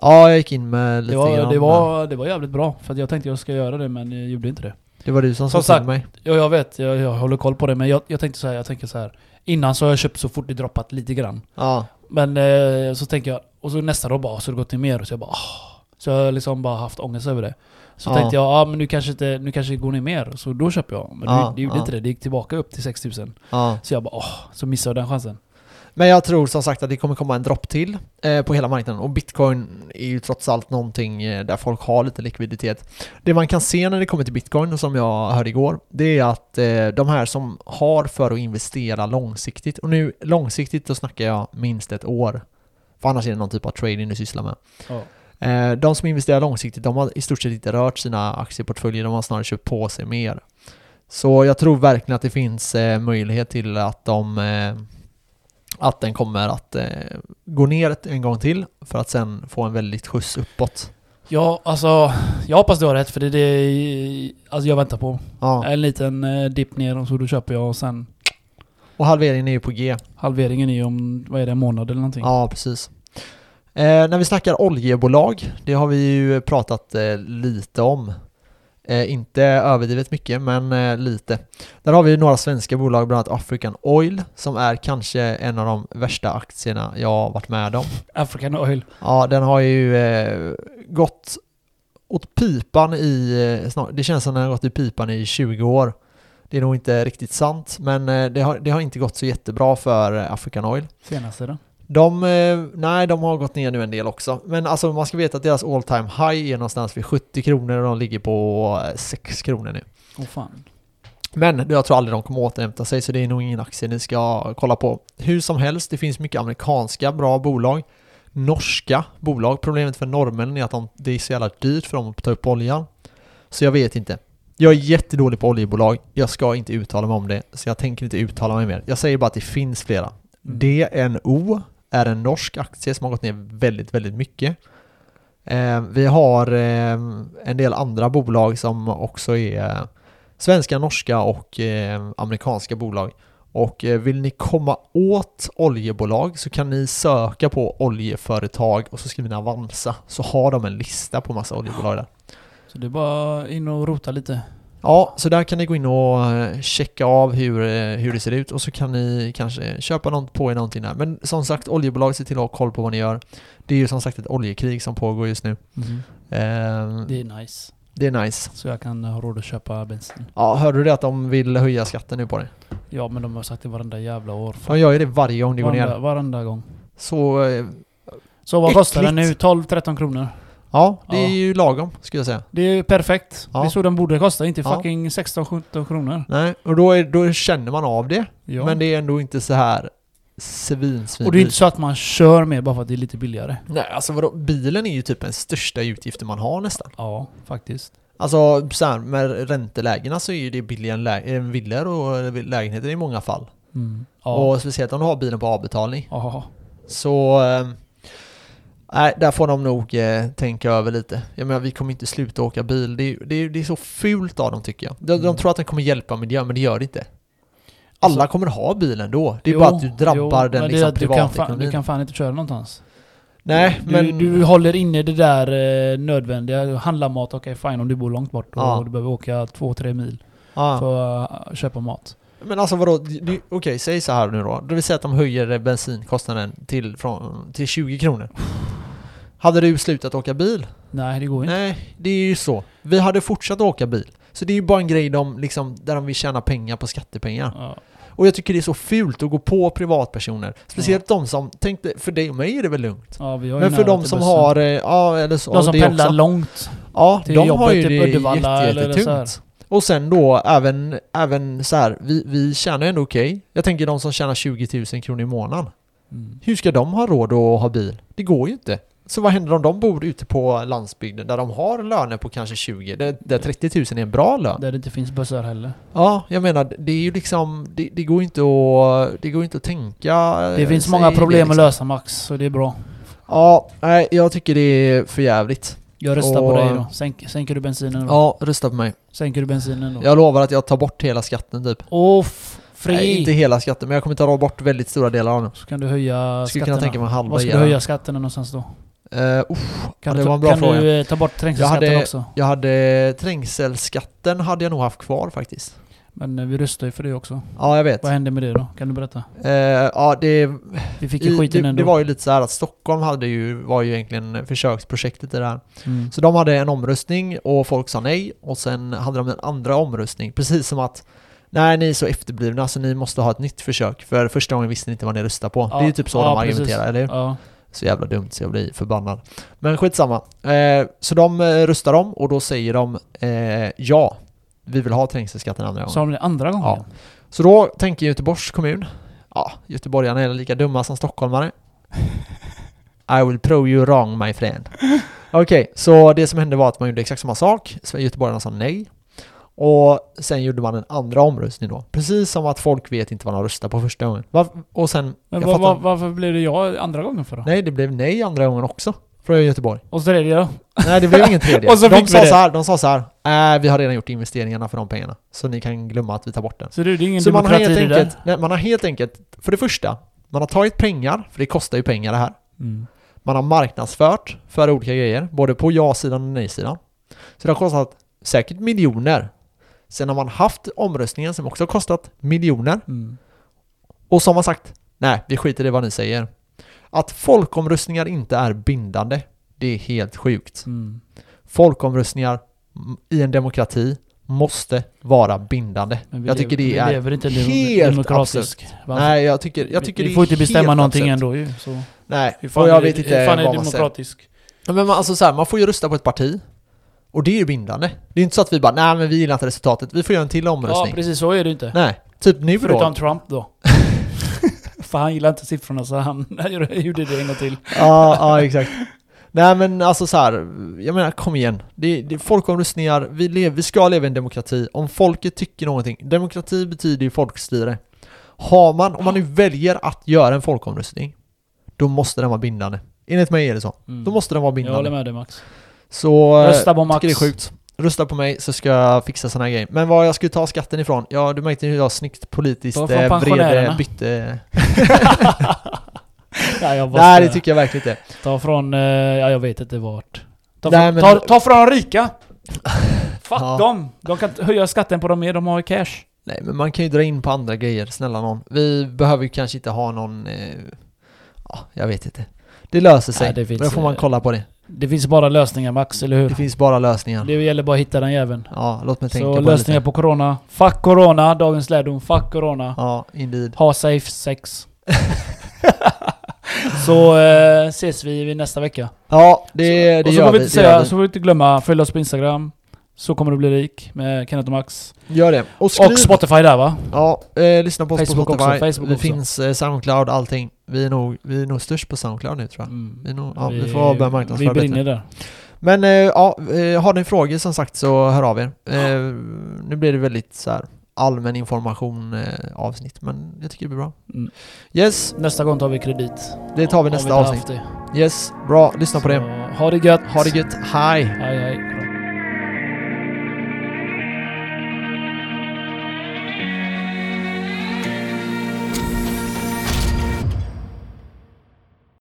Speaker 1: Ja, jag gick in med lite
Speaker 2: det, var,
Speaker 1: grann.
Speaker 2: det, var, det var jävligt bra. För att jag tänkte jag ska göra det men jag gjorde inte det.
Speaker 1: det var du som,
Speaker 2: Som
Speaker 1: sa till
Speaker 2: sagt.
Speaker 1: mig.
Speaker 2: Ja, jag vet. Jag, jag håller koll på det. Men jag, jag tänkte så här, jag tänker så här. Innan så har jag köpt så fort det droppat lite grann.
Speaker 1: Ja.
Speaker 2: Men eh, så tänker jag, och så nästa dag bara, så har det gått ner mer. Och så jag bara, ah. Så jag har liksom bara haft ångest över det. Så
Speaker 1: Ja.
Speaker 2: tänkte jag, ja ah, men nu kanske, inte, nu kanske det går ner mer. Så då köper jag. Men
Speaker 1: Ja,
Speaker 2: det, det gjorde
Speaker 1: ja.
Speaker 2: inte det. Det gick tillbaka upp till 6000.
Speaker 1: ja.
Speaker 2: Så jag bara, ah. Så missade jag den chansen.
Speaker 1: Men jag tror som sagt att det kommer komma en dropp till eh, på hela marknaden och bitcoin är ju trots allt någonting eh, där folk har lite likviditet. Det man kan se när det kommer till bitcoin och som jag hörde igår, det är att eh, de här som har för att investera långsiktigt, och nu långsiktigt då snackar jag minst ett år, för annars är det någon typ av trading du sysslar med.
Speaker 2: Ja.
Speaker 1: Eh, De som investerar långsiktigt, de har i stort sett inte rört sina aktieportföljer, de har snarare köpt på sig mer. Så jag tror verkligen att det finns eh, möjlighet till att de eh, att den kommer att eh, gå ner ett- en gång till för att sen få en väldigt skjuts uppåt.
Speaker 2: Ja, alltså. Jag hoppas du har rätt för det är det alltså jag väntar på.
Speaker 1: Ja.
Speaker 2: En liten eh, dipp ner och så då köper jag och sen
Speaker 1: Och halveringen är ju på G.
Speaker 2: halveringen är ju om, vad är det, en månad eller någonting.
Speaker 1: Ja, precis. Eh, när vi snackar oljebolag, det har vi ju pratat eh, lite om. Eh, inte överdrivet mycket, men eh, lite. Där har vi ju några svenska bolag, bland annat African Oil, som är kanske en av de värsta aktierna jag har varit med om.
Speaker 2: African Oil.
Speaker 1: Ja, den har ju eh, gått åt pipan i, eh, snar- det känns som den har gått i pipan i 20 år. Det är nog inte riktigt sant, men eh, det har, det har inte gått så jättebra för eh, African Oil.
Speaker 2: Senaste då.
Speaker 1: De, eh, nej, de har gått ner nu en del också. Men alltså man ska veta att deras all time high är någonstans vid 70 kronor och de ligger på eh, 6 kronor nu.
Speaker 2: Åh fan.
Speaker 1: Men jag tror aldrig de kommer återhämta sig så det är nog ingen aktie ni ska kolla på. Hur som helst, det finns mycket amerikanska bra bolag. Norska bolag. Problemet för norrmännen är att de, det är så jävla dyrt för dem att ta upp oljan. Så jag vet inte. Jag är jättedålig på oljebolag. Jag ska inte uttala mig om det, så jag tänker inte uttala mig mer. Jag säger bara att det finns flera.
Speaker 2: Mm.
Speaker 1: DNO är en norsk aktie som har gått ner väldigt, väldigt mycket. Eh, vi har eh, en del andra bolag som också är eh, svenska, norska och eh, amerikanska bolag. Och eh, vill ni komma åt oljebolag så kan ni söka på oljeföretag och så skriver ni Avanza så har de en lista på massa oljebolag där.
Speaker 2: Så det är bara in och rota lite.
Speaker 1: Ja, så där kan ni gå in och eh, checka av hur, eh, hur det ser ut och så kan ni kanske köpa något på er någonting där. Men som sagt, oljebolag, se till att ha koll på vad ni gör. Det är ju som sagt ett oljekrig som pågår just nu. Eh,
Speaker 2: Det är nice.
Speaker 1: det är nice.
Speaker 2: Så jag kan ha råd att köpa bensin.
Speaker 1: Ja, hörde du det att de vill höja skatten nu på det?
Speaker 2: Ja men de har sagt det varenda jävla år.
Speaker 1: De gör ju det varje gång det går
Speaker 2: varenda,
Speaker 1: ner.
Speaker 2: varenda gång.
Speaker 1: Så eh,
Speaker 2: Så vad kostar den nu?
Speaker 1: Äckligt.
Speaker 2: 12-13 kronor.
Speaker 1: ja, det
Speaker 2: Ja.
Speaker 1: är ju lagom skulle jag säga.
Speaker 2: Det är ju perfekt.
Speaker 1: Ja.
Speaker 2: Det är så den borde kosta. Inte
Speaker 1: Ja.
Speaker 2: fucking 16-17 kronor.
Speaker 1: Nej, och då, är, då känner man av det.
Speaker 2: Ja.
Speaker 1: Men det är ändå inte så här svin, svin
Speaker 2: och det är inte så att man kör mer bara för att det är lite billigare.
Speaker 1: Nej, alltså vadå? Bilen är ju typ den största utgiften man har nästan.
Speaker 2: Ja, faktiskt.
Speaker 1: Alltså så här, med räntelägena så är ju det billigare än, lä- än villor och eh, lägenheter i många fall.
Speaker 2: Mm. Ja.
Speaker 1: Och speciellt om du har bilen på avbetalning.
Speaker 2: ja.
Speaker 1: Så... eh, Nej, där får de nog eh, tänka över lite. Jag menar, vi kommer inte sluta åka bil. Det är, det är, det är så fult av dem tycker jag. De, de
Speaker 2: Mm.
Speaker 1: tror att den kommer hjälpa miljön, men det gör det inte. Alla
Speaker 2: Alltså-
Speaker 1: kommer ha bilen då. Det är
Speaker 2: Jo,
Speaker 1: bara att du drabbar
Speaker 2: jo,
Speaker 1: den
Speaker 2: men
Speaker 1: liksom,
Speaker 2: att du kan, fan,
Speaker 1: privatekonomin.
Speaker 2: du kan fan inte köra någonstans.
Speaker 1: Nej,
Speaker 2: du,
Speaker 1: men...
Speaker 2: du håller inne det där eh, nödvändiga. Handla mat, okej fine om du bor långt bort och
Speaker 1: Ja.
Speaker 2: du behöver åka 2-3 mil
Speaker 1: ja.
Speaker 2: för att eh, köpa mat.
Speaker 1: Men alltså vadå, Det- det- okej säg så här nu då. Det vill säga att de höjer eh, bensinkostnaden till, från, till 20 kronor. Hade du slutat åka bil?
Speaker 2: Nej, det går inte.
Speaker 1: Nej, det är ju så. Vi hade fortsatt åka bil. Så det är ju bara en grej de, liksom, där de vill tjäna pengar på skattepengar.
Speaker 2: Ja.
Speaker 1: Och jag tycker det är så fult att gå på privatpersoner. Speciellt de som, tänk dig, för dig och mig är det väl lugnt?
Speaker 2: Ja, vi har ju
Speaker 1: Men för
Speaker 2: nära
Speaker 1: de
Speaker 2: till
Speaker 1: som
Speaker 2: bussen.
Speaker 1: har, eh, ja eller så,
Speaker 2: De som
Speaker 1: det
Speaker 2: pendlar
Speaker 1: också.
Speaker 2: långt.
Speaker 1: Ja,
Speaker 2: till
Speaker 1: de
Speaker 2: jobbet,
Speaker 1: har ju
Speaker 2: typ
Speaker 1: det
Speaker 2: Uddevalla
Speaker 1: jätte,
Speaker 2: eller så här.
Speaker 1: jättetungt. Och sen då även, även så här, vi, vi tjänar ju ändå okej. Jag tänker de som tjänar 20 000 kronor i månaden.
Speaker 2: Mm.
Speaker 1: Hur ska de ha råd att ha bil? Det går ju inte. Så vad händer om de bor ute på landsbygden där de har löner på kanske 20, där, där 30 000 är en bra lön?
Speaker 2: Där det inte finns bussar heller.
Speaker 1: Ja, jag menar, det är ju liksom, det, det går inte att, det går inte att tänka...
Speaker 2: Det
Speaker 1: eh,
Speaker 2: finns
Speaker 1: sig
Speaker 2: många
Speaker 1: i
Speaker 2: problem
Speaker 1: liksom.
Speaker 2: att lösa Max, så det är bra.
Speaker 1: Ja, nej, jag tycker det är för jävligt.
Speaker 2: Jag röstar
Speaker 1: Och-
Speaker 2: på dig då. Sänk, sänker du bensinen då?
Speaker 1: Ja, rösta på mig.
Speaker 2: Sänker du bensinen då?
Speaker 1: Jag lovar att jag tar bort hela skatten typ.
Speaker 2: Off! Fri!
Speaker 1: Nej, inte hela skatten, men jag kommer ta bort väldigt stora delar av den.
Speaker 2: Så kan du höja
Speaker 1: Jag skulle
Speaker 2: skatterna.
Speaker 1: kunna tänka mig halva
Speaker 2: Vad ska du
Speaker 1: igen.
Speaker 2: höja skatterna någonstans då?
Speaker 1: Eh, uff, Ja,
Speaker 2: Kan,
Speaker 1: det
Speaker 2: du, ta-
Speaker 1: var en bra
Speaker 2: kan
Speaker 1: fråga.
Speaker 2: du eh, ta bort trängselskatten
Speaker 1: hade-
Speaker 2: också?
Speaker 1: jag hade trängselskatten hade jag nog haft kvar faktiskt.
Speaker 2: Men eh, vi röstar ju för det också.
Speaker 1: Ja, jag vet.
Speaker 2: Vad hände med det då? Kan du berätta?
Speaker 1: Eh, ja, det,
Speaker 2: Vi fick ju
Speaker 1: i,
Speaker 2: skiten
Speaker 1: det,
Speaker 2: ändå.
Speaker 1: det var ju lite så här att Stockholm hade ju, var ju egentligen försöksprojektet i det här.
Speaker 2: mm.
Speaker 1: Så de hade en omröstning och folk sa nej och sen hade de en andra omröstning. Precis som att Nej, ni är så efterblivna så ni måste ha ett nytt försök för första gången visste ni inte vad ni röstade på.
Speaker 2: Ja,
Speaker 1: det är ju typ så
Speaker 2: ja,
Speaker 1: de
Speaker 2: precis.
Speaker 1: argumenterar, eller hur?
Speaker 2: Ja.
Speaker 1: Så jävla dumt så jag blir förbannad. Men skitsamma. Eh, så de eh, röstar om och då säger de eh, ja, vi vill ha trängselskatten andra gången.
Speaker 2: Sa de det andra gången?
Speaker 1: Ja. Så då tänker Göteborgs kommun, ja, göteborgarna är lika dumma som stockholmare. I will prove you wrong my friend. Okej, så det som hände var att man gjorde exakt samma sak. Så Göteborgarna sa nej. Och sen gjorde man en andra omröstning då. Precis som att folk vet inte vad de röstar på första gången. Varf- Och sen...
Speaker 2: Men
Speaker 1: jag
Speaker 2: var,
Speaker 1: fattar-
Speaker 2: var, varför blev det jag andra gången för då?
Speaker 1: Nej, det blev nej andra gången också. Från Göteborg.
Speaker 2: Och så är det då?
Speaker 1: Nej, det blev ingen tredje.
Speaker 2: Och så
Speaker 1: de,
Speaker 2: fick vi
Speaker 1: sa
Speaker 2: det.
Speaker 1: så här, de sa så här, äh, vi har redan gjort investeringarna för de pengarna. Så ni kan glömma att vi tar bort den.
Speaker 2: Så det är ingen
Speaker 1: Så man har,
Speaker 2: demokrati
Speaker 1: helt
Speaker 2: det där.
Speaker 1: enkelt, nej, man har helt enkelt, för det första, man har tagit pengar, för det kostar ju pengar det här.
Speaker 2: Mm.
Speaker 1: Man har marknadsfört för olika grejer, både på ja-sidan och nej-sidan. Så det har kostat säkert miljoner. Sen har man haft omröstningen som också har kostat miljoner.
Speaker 2: Mm.
Speaker 1: Och som har sagt, nej, vi skiter i vad ni säger. Att folkomröstningar inte är bindande, det är helt sjukt.
Speaker 2: Mm.
Speaker 1: Folkomröstningar m- i en demokrati måste vara bindande.
Speaker 2: Men vi
Speaker 1: Jag tycker
Speaker 2: lever-
Speaker 1: det är
Speaker 2: vi lever inte i en dem-
Speaker 1: helt
Speaker 2: demokratisk. Va?
Speaker 1: Nej, jag tycker, jag
Speaker 2: Vi-
Speaker 1: tycker
Speaker 2: vi
Speaker 1: det
Speaker 2: får
Speaker 1: är
Speaker 2: inte bestämma
Speaker 1: helt
Speaker 2: någonting
Speaker 1: absurt.
Speaker 2: ändå ju. Så
Speaker 1: Nej,
Speaker 2: hur fan
Speaker 1: och jag
Speaker 2: är det,
Speaker 1: vet
Speaker 2: hur
Speaker 1: inte
Speaker 2: fan är
Speaker 1: vad man säger.
Speaker 2: demokratisk?
Speaker 1: Ja, Men man, alltså så här, man får ju rösta på ett parti. Och det är ju bindande. Det är inte så att vi bara, nej men vi gillar inte resultatet, vi får göra en till
Speaker 2: Ja,
Speaker 1: omröstning.
Speaker 2: precis så är det inte.
Speaker 1: nej, typ nu då.
Speaker 2: Förutom Trump då. För han gillar inte siffrorna så han gjorde det en gång till.
Speaker 1: Ja, ja exakt. Nej men alltså så här, jag menar kom igen. Det, det, folkomröstningar, vi, lev, vi ska leva i en demokrati. Om folket tycker någonting, demokrati betyder ju folkstyre. Har man, om man nu väljer att göra en folkomröstning, då måste den vara bindande. Enligt mig är det så.
Speaker 2: Mm.
Speaker 1: Då måste den vara
Speaker 2: Jag håller
Speaker 1: bindande.
Speaker 2: med dig Max.
Speaker 1: Så... eh,
Speaker 2: Rösta på Max.
Speaker 1: tycker det är sjukt. Rösta på mig så ska jag fixa såna här grejer. Men var jag skulle ta skatten ifrån? Ja, du märkte hur jag snyggt politiskt
Speaker 2: Var från
Speaker 1: eh, vred,
Speaker 2: pensionärerna.
Speaker 1: eh, bytte...
Speaker 2: Nej, jag bara
Speaker 1: Nej, det
Speaker 2: skojar.
Speaker 1: tycker jag verkligen inte.
Speaker 2: Ta från... eh, Ja, jag vet inte vart. Ta,
Speaker 1: Nej,
Speaker 2: från,
Speaker 1: men-
Speaker 2: ta, ta från de rika! Fuck
Speaker 1: Ja.
Speaker 2: dem! De kan inte höja skatten på dem mer, de har ju cash.
Speaker 1: Nej, men man kan ju dra in på andra grejer, snälla någon. Vi behöver ju kanske inte ha någon... Eh, ja, jag vet inte. Det löser sig.
Speaker 2: Nej, det finns,
Speaker 1: Då får man
Speaker 2: eh,
Speaker 1: kolla på det.
Speaker 2: Det finns bara lösningar Max, eller
Speaker 1: Det
Speaker 2: hur?
Speaker 1: finns bara lösningar.
Speaker 2: Det gäller bara att hitta den jäveln.
Speaker 1: Ja, låt mig tänka
Speaker 2: Så
Speaker 1: på det
Speaker 2: lösningar
Speaker 1: lite.
Speaker 2: på Corona. Fuck Corona, dagens lärdom. Fuck Corona.
Speaker 1: Ja, indeed.
Speaker 2: Ha safe sex. så eh, ses vi vid nästa vecka.
Speaker 1: Ja, det, det
Speaker 2: och så
Speaker 1: gör
Speaker 2: får vi
Speaker 1: vi.
Speaker 2: inte
Speaker 1: Det gör,
Speaker 2: säga,
Speaker 1: vi.
Speaker 2: så får vi inte glömma, följ oss på Instagram. Så kommer du bli rik med Kenneth och Max.
Speaker 1: gör det. Och skriv.
Speaker 2: Och Spotify där va?
Speaker 1: Ja, eh, lyssna på oss
Speaker 2: Facebook
Speaker 1: på
Speaker 2: också,
Speaker 1: Spotify.
Speaker 2: Facebook
Speaker 1: vi
Speaker 2: också.
Speaker 1: finns eh, Soundcloud, allting. Vi är, nog, vi är nog störst på Soundcloud nu tror jag.
Speaker 2: Mm.
Speaker 1: Vi, är nog, ja, vi, får börja marknadsföra
Speaker 2: Vi brinner
Speaker 1: bättre.
Speaker 2: där.
Speaker 1: Men eh, ja, eh, har ni frågor som sagt så hör av er. Eh, nu blir det väldigt så här allmän information eh, avsnitt, men jag tycker det blir bra.
Speaker 2: Mm.
Speaker 1: Yes,
Speaker 2: Nästa gång tar vi kredit.
Speaker 1: det tar vi
Speaker 2: Om
Speaker 1: nästa
Speaker 2: inte
Speaker 1: avsnitt.
Speaker 2: haft det.
Speaker 1: Yes, bra. Lyssna på det.
Speaker 2: Så, Ha det gött.
Speaker 1: Ha det gött. Hej!
Speaker 2: Hej hej.